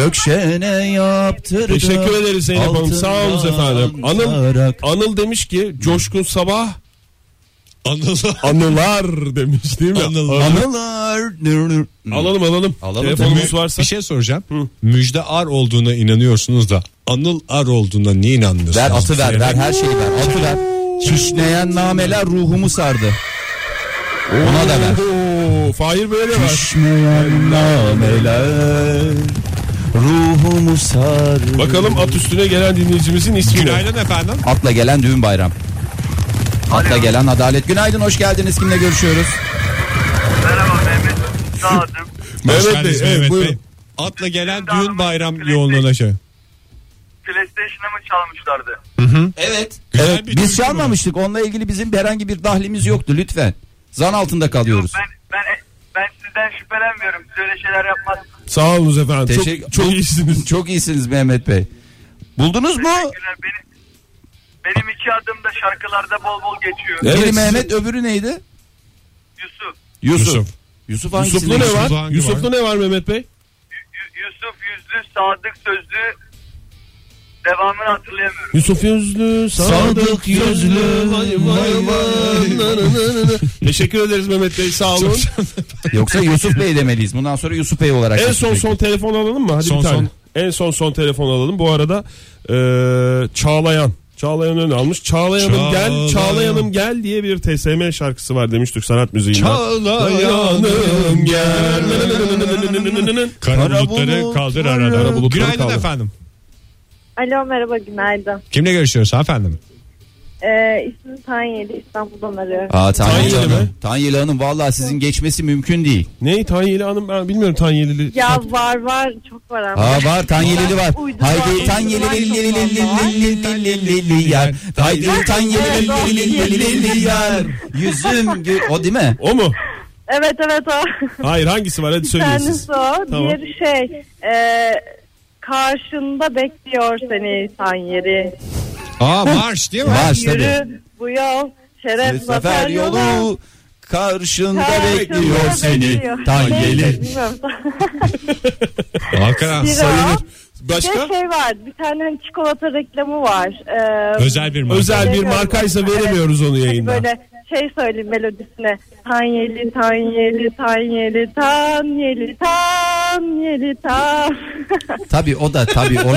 D: Gökşen'e yaptırdım.
E: Teşekkür ederiz Zeynep Hanım. Sağ olun efendim. Anıl, Anıl demiş ki Coşkun Sabah
C: Anılar.
E: Anılar demiş değil mi?
C: Anılar.
D: Anılar.
E: Alalım alalım. Telefonumuz varsa.
C: Bir şey soracağım. Müjde Ar olduğuna inanıyorsunuz da Anıl Ar olduğuna niye inanmıyorsunuz?
D: Ver atı ver ver her şeyi ver atı ver. Kişneyen nameler ruhumu sardı. Ona da
C: şey-
D: ver.
E: Oo, Fahir böyle var.
D: Kişneyen nameler ruhumu sardı.
E: Bakalım at üstüne gelen dinleyicimizin ismi ne?
C: Günaydın efendim.
D: Atla gelen düğün bayram. Atla gelen adalet. Günaydın hoş geldiniz. Kimle görüşüyoruz?
C: Hoş
E: Mehmet Bey,
C: geldiniz
E: evet,
C: Mehmet Bey.
E: buyurun.
C: Atla gelen düğün bayram yoğunluğuna şey.
O: PlayStation'a mı çalmışlardı?
D: Evet.
C: Güzel
D: evet
C: bir
D: biz
C: duygu
D: çalmamıştık. Onunla ilgili bizim herhangi bir dahlimiz yoktu lütfen. Zan altında kalıyoruz.
O: Ben ben sizden şüphelenmiyorum. Siz öyle şeyler yapmazsınız.
E: Sağ olunuz efendim. Çok-
D: Teşekkür-
E: çok iyisiniz.
D: Çok iyisiniz Mehmet Bey. Buldunuz mu?
O: Teşekkürler. Benim, benim iki adım da şarkılarda bol bol geçiyor.
D: Biri
E: Evet,
D: Mehmet öbürü neydi?
O: Yusuf.
D: Yusuf.
C: Yusuf.
D: Yusuf
E: Yusuflu
D: hangisinde?
E: ne
C: Yusuflu
E: var?
C: hangi
E: Yusuflu ne var Mehmet Bey?
O: Yu- Yusuf yüzlü, sadık sözlü. Devamını hatırlayamıyorum.
E: Yusuf Yüzlü,
D: Sadık Yüzlü,
E: vay vay vay, na na na na. Teşekkür ederiz Mehmet Bey sağ olun.
D: Yoksa Yusuf Bey demeliyiz. Bundan sonra Yusuf Bey olarak.
E: en
D: Yusuf
E: son
D: Bey.
E: son telefon alalım mı? Hadi
C: Son
E: bir tane.
C: son.
E: En son son telefon alalım. Bu arada eee Çağlayan. Çağlayan öne almış. Çağlayan'ım
C: Çağlayan.
E: gel, Çağlayan'ım gel diye bir TSM şarkısı var demiş Türk sanat müziğinden.
C: Çağlayanım gel. Kara
E: Kara
C: bulutları
E: bulut,
C: kaldır
E: kara
C: aradan.
E: bulutları
C: Günaydın
E: kaldır.
C: efendim.
I: Alo merhaba günaydın.
C: Kimle görüşüyoruz hanımefendim?
I: Ee, ismim Tanyeli İstanbul'dan arıyorum.
D: Aa, Tanyeli,
E: Tanyeli
D: Hanım.
E: mi?
D: Tanyeli Hanım vallahi sizin geçmesi mümkün değil.
E: Ney Tanyeli Hanım ben bilmiyorum Tanyelili.
I: Ya var var çok var ama.
D: Aa var Tanyelili var.
I: Uydu
D: Haydi
I: var,
D: Tanyelili
I: uydu var,
D: lili lili
I: var.
D: lili lili lili yar. Haydi Tanyelili lili lili lili lili yar. Yüzüm gü- o değil mi?
E: O mu?
I: Evet evet o.
E: Hayır hangisi var hadi
I: Bir
E: söyleyin siz.
I: tanesi o.
E: Tamam.
I: Diğeri şey e, karşında bekliyor seni Tanyeli.
C: Aa marş değil mi?
D: Marş tabii.
I: Yürü bu yol şeref
D: Sefer
I: zafer yolu.
D: yolu karşında
I: Karşında
D: bekliyor seni.
I: bekliyor.
D: Tanyeli.
I: Neyse, bilmiyorum.
C: Hakikaten
I: Biri
C: sayılır.
I: o. Bir de şey var bir tane hani çikolata reklamı var. Ee,
C: Özel bir marş.
E: Özel bir markaysa veremiyoruz onu
I: Hani
E: yayında.
I: böyle şey söyleyeyim melodisine. Tanyeli, tanyeli, tanyeli, tanyeli, tanyeli, tan.
D: Tabii o da tabii o.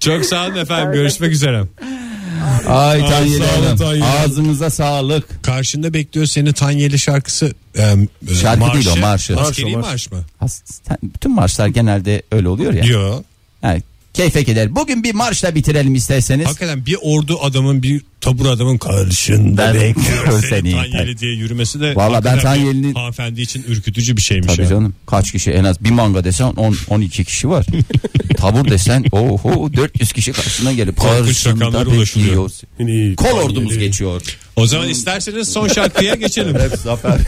C: Çok sağ olun efendim. Görüşmek üzere.
D: Ay Tanyeli
E: sağ olun,
D: Hanım.
E: Tanyeli.
D: Ağzınıza sağlık.
C: Karşında bekliyor seni Tanyeli şarkısı. e, e,
D: Şarkı değil o, marşı.
C: Askeri
E: Marş o,
C: marş mı?
D: Has- Bütün marşlar genelde öyle oluyor ya.
C: Yok.
D: Yani keyfe gider. Bugün bir marşla bitirelim isterseniz.
C: Hakikaten bir ordu adamın bir tabur adamın karşında
D: Ben
C: bekliyor
D: seni.
C: seni Tanyeli diye yürümesi de
D: Valla ben
C: hakikaten bir
D: Tanyeli'nin-
C: hanımefendi için ürkütücü bir şey. şeymiş.
D: Tabii
C: ya.
D: canım. Kaç kişi en az bir manga desen 10 12 kişi var. Tabur desen oho 400 kişi karşısına gelip
C: Korkunç
D: karşında
C: rakamlara ulaşılıyor.
D: bekliyor.
E: Yine-
D: Kol ordumuz geçiyor.
C: O zaman isterseniz son şarkıya geçelim.
D: Hep zafer.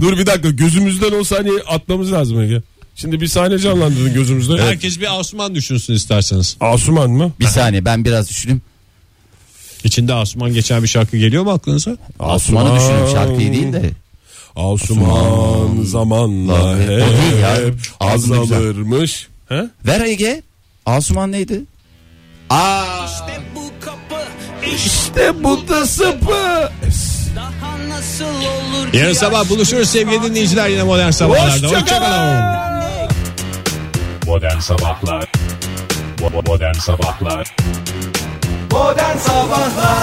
E: Dur bir dakika gözümüzden o saniye atmamız lazım Ege. Şimdi bir sahne canlandırdın gözümüzde.
C: Herkes bir Asuman düşünsün isterseniz.
E: Asuman mı?
D: bir saniye ben biraz düşüneyim.
C: İçinde Asuman geçen bir şarkı geliyor mu aklınıza?
D: Asuman'ı düşünün şarkıyı değil de.
E: Asuman zamanla
D: O değil ya.
E: hep
D: Ağzında güzel.
E: azalırmış. He?
D: Ver Ege. Asuman neydi? Aa. İşte bu da sıpı.
C: Yarın sabah buluşuruz sevgili dinleyiciler yine modern sabahlarda. Hoşçakalın.
A: Modern Sabahlar Bo- Modern Sabahlar
B: Modern Sabahlar